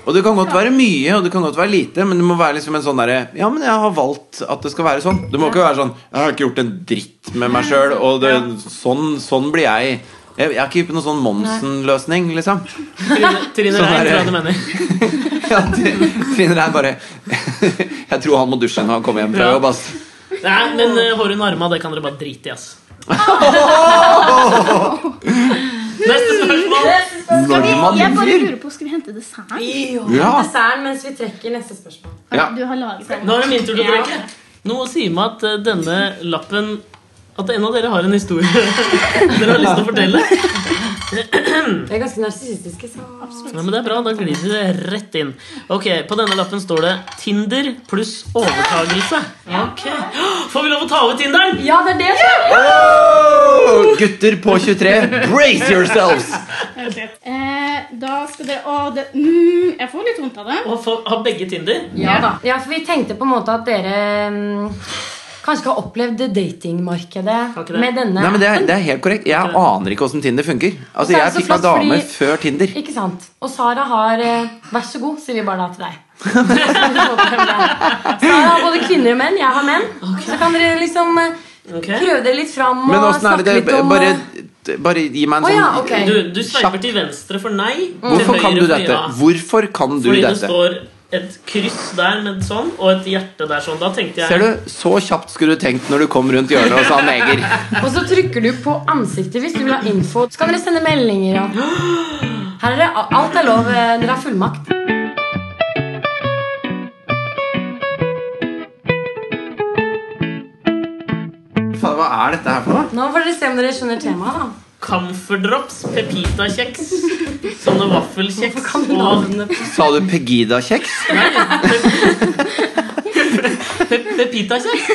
B: Og det kan godt være mye, og det kan godt være lite, men det må være liksom en sånn derre Ja, men jeg har valgt at det skal være sånn. Det må ikke være sånn Jeg har ikke gjort en dritt med meg sjøl, og det, sånn, sånn blir jeg. Jeg, jeg er ikke på noen sånn Monsen-løsning, liksom.
A: Trine, Trine
B: Sånn
A: Rein, tror
B: er
A: jeg
B: det.
A: du mener.
B: Ja, Trine Rein bare Jeg tror han må dusje når han kommer hjem fra
A: Ja.
B: jobb, ass.
A: Nei, men uh, hår under arma, det kan dere bare drite i, ass. Neste spørsmål.
E: Skal vi,
B: Norman
E: jeg bare
B: fyr.
E: lurer på, skal vi hente dessert?
B: Ja.
D: Desserten mens vi trekker neste spørsmål.
B: Ja.
E: Du har laget den.
A: Nå er det min tur til å trekke. Noe sier meg at eh, denne lappen At en av dere har en historie dere har lyst til å fortelle.
D: Vi er ganske narsissistiske, så
A: Ja, men det er bra, da glir det rett inn. Ok, På denne lappen står det 'Tinder pluss overtagelse'. Ok, Får vi lov å ta over Tinderen?
D: Ja, det er det som
B: Wow! Gutter på 23, brace yourselves!
E: Eh, da skal dere Å, det mm, Jeg får litt vondt av det.
A: Og få- ha begge Tinder?
D: Ja da. Ja, for vi tenkte på en måte at dere mm, kanskje ikke har opplevd
A: Har ikke
D: datingmarkedet
A: det.
D: med denne.
B: Nei, men det er, det er helt korrekt. Jeg aner ikke åssen Tinder funker. Altså,
D: Og så er
B: jeg
D: det så
B: fikk meg
D: flott, fordi-
B: dame før Tinder.
D: Ikke sant? Og Sara har eh, Vær så god, sier vi bare da til deg. Sara har både kvinner og menn. Jeg har menn. Så kan dere liksom eh,
A: Ok.
D: prøve dere litt fram og
B: Men åssen er
D: snakke
B: det
D: litt
B: det
D: om
B: bare,
D: eh,
B: bare gi meg en
D: Å
B: sånn
D: ja, ok.
A: Du, du sveiper til venstre for nei.
B: Hvorfor
A: til
B: kan
A: høyre
B: du
A: for
B: dette?
A: ja.
B: Hvorfor kan du
A: Fordi det
B: dette?
A: står et kryss der med sånn, og et hjerte der sånn. Da tenkte jeg
B: Ser du, Så kjapt skulle du tenkt når du kom rundt hjørnet og sa neger.
D: Og så trykker du på ansiktet hvis du vil ha info. Så kan dere sende meldinger og Her er det, Alt er lov. eh, Dere har fullmakt.
B: Faen, Hva er dette her for noe?
D: Nå får dere se om dere skjønner temaet. da
A: Camferdrops, pepitakjeks, sånne
D: Hvorfor
A: vaffelkjeks
D: kan du
A: og
D: navnet på
B: Sa du Pegida-kjeks?
A: pe pepitakjeks.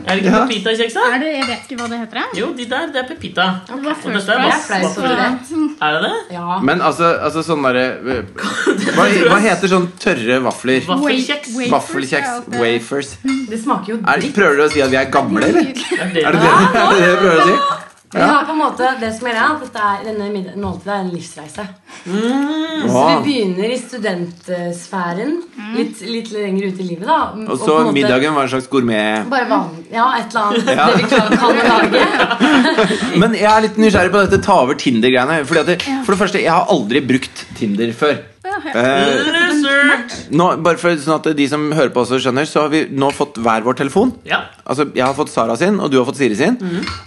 A: Er det ikke
B: Ja.
A: pepitakjeks, da?
E: Er det, jeg vet ikke hva det heter. jeg.
A: Jo, de der, det er pepita.
E: Det var
A: Og dette er
D: Jeg
A: vaff-
D: er flau
A: vaffel.
D: over det.
E: sånn
A: Er det det?
D: Ja.
B: Men altså, altså sånn derre hva, hva heter sånn tørre vafler?
A: Vaffelkjeks.
E: Wait, wait.
B: Vaffelkjeks? Wafers?
D: Det smaker jo
B: Er,
D: dritt.
B: prøver du å si at vi er gamle, eller?
A: Er det det?
B: Er det det, er det, det du prøver å si?
D: Vi har på en måte det som gjelder, er at dette er, denne middag- måltidet er en livsreise. Så vi
B: Wow.
D: begynner i studentsfæren, litt, litt lenger ut i livet, da.
B: Og
D: på
B: så
D: en måte
B: middagen var en slags gourmet
D: Bare vanlig. Ja, et eller annet.
B: Ja.
D: Det vi kan, kan lage.
B: Men jeg er litt nysgjerrig på dette ta over Tinder-greiene. Fordi at det, For det første, jeg har aldri brukt Tinder før. Eh,
A: Mm. Research.
B: nå, bare for sånn at de som hører på også skjønner Så har vi nå fått hver vår telefon
A: Ja.
B: Altså, jeg har fått Sara sin, og du har fått Siri sin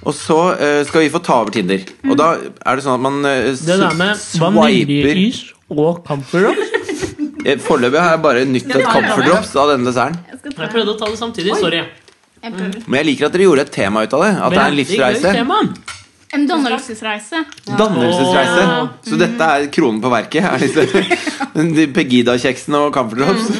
B: Og så eh, skal vi få ta over Tinder Og da er det sånn at man eh,
A: Det der med
B: swiper
A: vaniljeis og camferdrops.
B: Eh, Foreløpig har jeg bare nyttet comfort drops av denne desserten
E: Jeg skal
A: Jeg
E: ta
A: prøvde å ta det samtidig. Sorry.
E: en prøve.
B: Men jeg liker at dere gjorde et tema ut av det At det er en
A: Veldig gøy
B: livsreise
A: tema.
E: En dannelsesreise.
B: Dannelsesreise
A: Åh.
B: Så dette er kronen på verket er liksom, de Pegida-kjeksen og comfort drops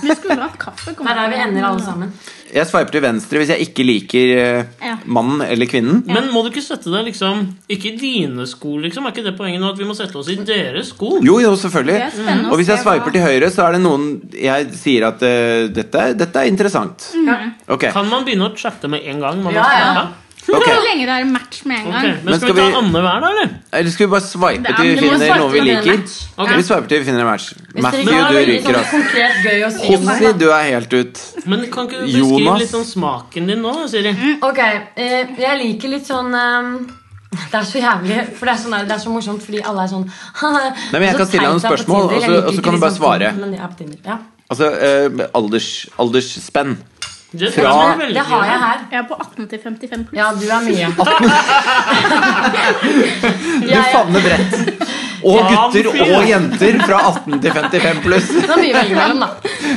E: Vi skulle hatt kaffe.
D: Det er der vi ender, alle sammen.
B: Jeg sveiper til venstre hvis jeg ikke liker eh,
E: Ja.
B: mannen eller kvinnen
A: Men må du ikke sette deg liksom Ikke i dine sko, liksom? Er ikke det poenget nå at vi må sette oss i deres sko?
B: Jo, jo, selvfølgelig.
E: Det er spennende å
B: Og hvis jeg
E: se hva-
B: sveiper til høyre, så er det noen jeg sier at eh, dette, er- dette er interessant.
D: Mm.
B: Ok,
A: Kan man begynne å chatte med en gang? Man
D: Ja,
A: har
D: ja.
A: snakket?
B: ok.
E: Så lenge det er en match med en
A: Ok,
E: gang.
A: Men,
B: Men
A: skal,
B: skal
A: vi
B: vi-
A: ta Anne hver, da? eller?
B: Eller skal vi bare sveipe
E: Det er-
B: til vi
E: vi må
B: finner
E: sveipe
B: noen vi
D: til en
B: liker?
D: match.
A: Ok.
B: Vi sveiper til vi finner en match.
D: Hvis dere
B: Matthew,
D: ikke har
B: du
D: veldig
B: ryker,
D: sånn
B: ass.
D: konkret gøy å si om det.
B: Hossi, du er helt ut.
A: Men kan ikke du beskrive
B: Jonas.
A: litt sånn smaken din nå, da, Siri?
D: Ok, eh, jeg liker litt sånn ehm, det er så jævlig, for det er, sånn, det er så morsomt fordi alle er sånn Nei,
B: men jeg kan stille deg noen spørsmål, og så- og så kan du bare svare.
D: sånn Men jeg er på Tinder, ja.
B: Altså, eh, alders, aldersspenn.
A: Det,
B: Fra-
A: kan man
D: det,
A: velge.
D: det har jeg her.
E: Jeg er på 18 til 55 pluss.
D: Ja, du er mye.
B: Du favner bredt. Og
A: Ja,
B: gutter
A: fy.
B: og jenter fra 18 til 55 pluss.
D: Det er mye å velge mellom, da.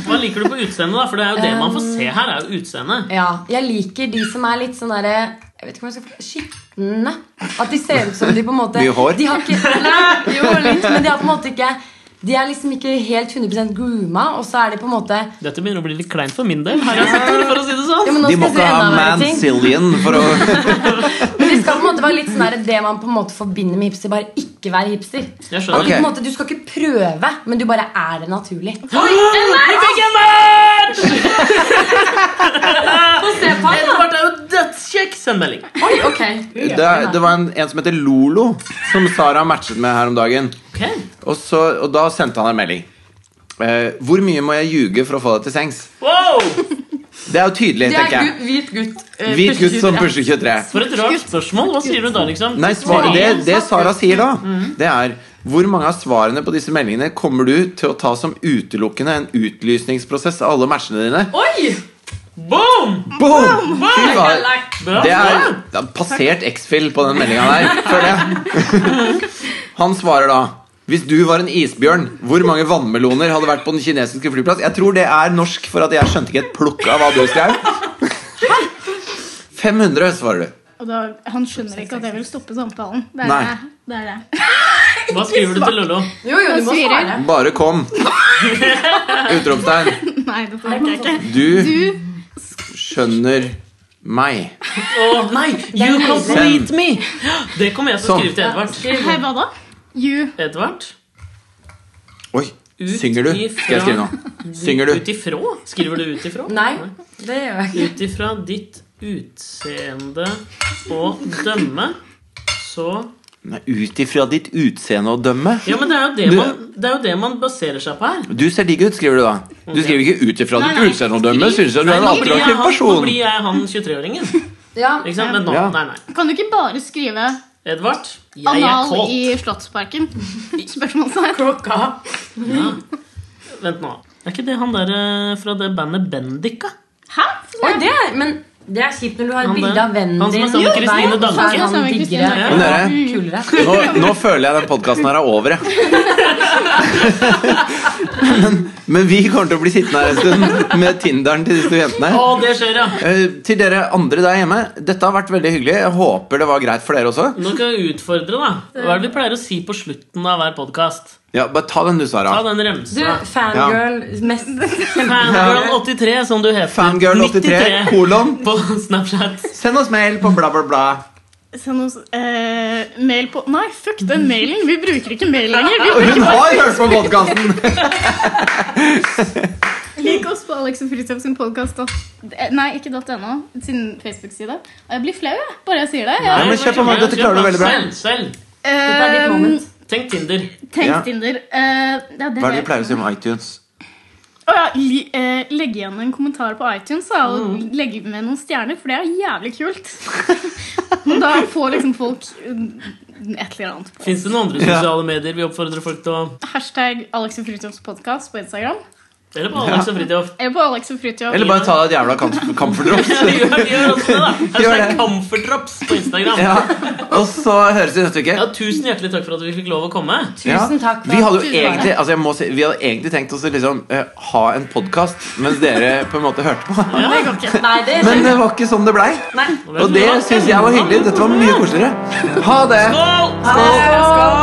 A: Hva liker du på utseendet, da? For det er jo det man får se her. er jo utseendet
D: Ja, jeg liker de som er litt sånn derre jeg vet ikke om jeg skal forklare- Skitne. At de ser ut som de på en måte
B: Mye hår?
D: De har ikke, nei, jo, litt, men de har på en måte ikke De er liksom ikke helt 100 grooma, og så er de på en måte
A: Dette begynner å bli litt kleint for min del. Her er sektor, for å si det sånn.
D: ja, men nå
B: De
D: skal
B: må
D: jeg si
B: ikke
D: enda
B: ha
D: verre ting.
B: Mancillion for å
D: Men det skal på en måte være litt sånn der, det man på en måte forbinder med hipster, bare ikke være hipster.
A: Jeg
D: At du, på
A: skjønner.
B: Ok.
D: en måte, du skal ikke prøve, men du bare er det naturlig.
A: Vi fikk en match!
D: Edvard!
A: Edvard er jo dødskjekk! Send melding.
D: Oi, ok.
B: Det, er- det var en, en som heter Lolo, som Sara matchet med her om dagen.
A: Ok.
B: Og, så, og da sendte han en melding. Eh, hvor mye må jeg ljuge for å få deg til sengs?
A: Wow!
B: Det er jo tydelig,
D: Det er
B: tenker
D: gutt,
B: jeg.
D: hvit gutt. eh,
B: Hvit gutt som
D: pusher.
B: pusher 23.
A: For et rart spørsmål. Hva sier du da, liksom?
B: Nei, svar, det, det Sara sier da,
D: Mm.
B: det er hvor mange av svarene på disse meldingene kommer du til å ta som utelukkende en utlysningsprosess av alle matchene dine?
D: Oi!
A: Boom!
B: Boom! Fy faen.
A: Bra
B: Det er
A: svar.
B: det er passert X-Fill på den meldinga der, føler jeg. Han svarer da Hvis du var en isbjørn, hvor mange vannmeloner hadde vært på den kinesiske flyplass? Jeg tror det er norsk, for at jeg skjønte ikke et plukk av hva du skrev. 500, svarer du.
E: Og da, han skjønner ikke at jeg vil stoppe samtalen. Det er
B: Nei.
E: det. det, er det.
A: Hva skriver du til Lollo?
D: Jo, jo, du må
E: Svirer.
D: svare.
B: Bare kom. Utropstegn.
E: Nei, det orker jeg ikke.
B: Du
E: Du,
B: skjønner meg.
A: Å nei! You complete me! Det kommer jeg til å
B: Sånn.
A: skrive til Edvard.
E: hei, hva da? You
A: Edvard?
B: Oi,
A: Ut
B: synger du? Skal jeg skrive nå? Synger
A: Ut
B: du?
A: ifra? Skriver du ut ifra?
D: Nei, det gjør jeg ikke.
A: Ut ifra ditt utseende å dømme, så
B: Nei, Ut ifra ditt utseende å dømme?
A: Ja, men det er jo det man, det er jo det man baserer seg på her.
B: Du ser digg ut, skriver du da. Du skriver ikke ut ifra ditt
E: Nei, nei.
B: utseende å dømme. Synes jeg du er en
A: Nå blir jeg
B: attraktiv
A: han, nå
B: person.
A: blir jeg han 23-åringen.
D: Ja,
A: Ikke sant? Men nå,
B: Ja.
A: nei, nei.
E: Kan du ikke bare skrive
A: Edvard, jeg er
E: anal
A: kåt.
E: i Slottsparken? Spørsmålstegn.
D: klokka.
A: Vent nå. Er ikke det han der eh, fra det bandet Bendik, da?
E: Hæ?
D: Oi, det er, men det er kjipt når du har
A: Han
D: et bilde
A: der.
D: av vennen
A: Han som er
D: din.
A: sammen med
D: Jo,
A: Christine
D: nei,
A: Danke.
D: så er
E: Sammen
D: han
E: med Christine
D: diggere
A: Danke.
D: og
B: Ja.
D: kulere.
B: Nå, nå føler jeg den podkasten her er over, jeg. Men, men vi kommer til å bli sittende her en stund med Tinderen til disse jentene.
A: Å, det skjer, ja!
B: Eh, til dere andre der hjemme, dette har vært veldig hyggelig. Jeg håper det var greit for dere også.
A: Nå skal jeg utfordre, da. Hva er det vi pleier å si på slutten av hver podkast?
B: Ja, Bare ta den du,
A: Ta
B: Sara.
A: den
D: Du,
A: remsa.
D: fangirl mest
A: Fangirl83, som du heter.
B: Fangirl83 kolon.
A: på Snapchat.
B: Send oss mail på bla, bla, bla.
E: Send oss eh, mail på Nei, fuck den mailen! Vi bruker ikke mail lenger.
B: Og hun har hørt på podkasten!
E: Vi liker oss på Alex og Fridtjof sin podkast. Nei, ikke .no, sin Facebook-side. Og Jeg blir flau, jeg, bare jeg sier det. Jeg, ehm,
B: Nei, men kjør på, Mark, dette klarer du veldig bra.
A: Selv, selv.
D: Dette er ditt moment.
A: Tenk Tinder.
E: Tenk
B: Ja.
E: Tinder. Eh, det er det
B: Hva er det
E: jeg-
B: vi pleier å si om iTunes?
E: Å ja, li, eh, legg igjen en kommentar på iTunes da, og legg med noen stjerner, for det er jævlig kult. Men da får liksom folk eh, et eller annet. på.
A: Fins det noen andre
B: Ja.
A: sosiale medier vi oppfordrer folk til å
E: Hashtag Alex og Fridtjofs podcast på Instagram.
A: Eller på Alex og Fridtjof.
E: Eller på Alex og Fridtjof.
B: Eller bare ta deg et jævla kam-
A: Ja,
B: kamferdrops.
A: gjør, gjør også det, da.
B: Gjør
A: Hashtag
B: det.
A: Comfortdrops på Instagram.
B: Ja. Og så høres vi neste uke.
A: Ja, Tusen hjertelig takk for at vi fikk lov å komme.
D: Tusen takk for
B: vi
D: at
B: hadde jo
D: du var
B: egentlig, altså jeg må si, vi hadde egentlig tenkt oss å liksom, eh, ha en podkast mens dere på en måte hørte på.
A: Ja.
D: Nei, det
B: Men det var ikke sånn det blei.
D: Nei.
B: Og det syns jeg var hyggelig. Dette var mye koseligere. Ha det!
A: Skål!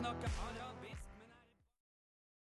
F: snakker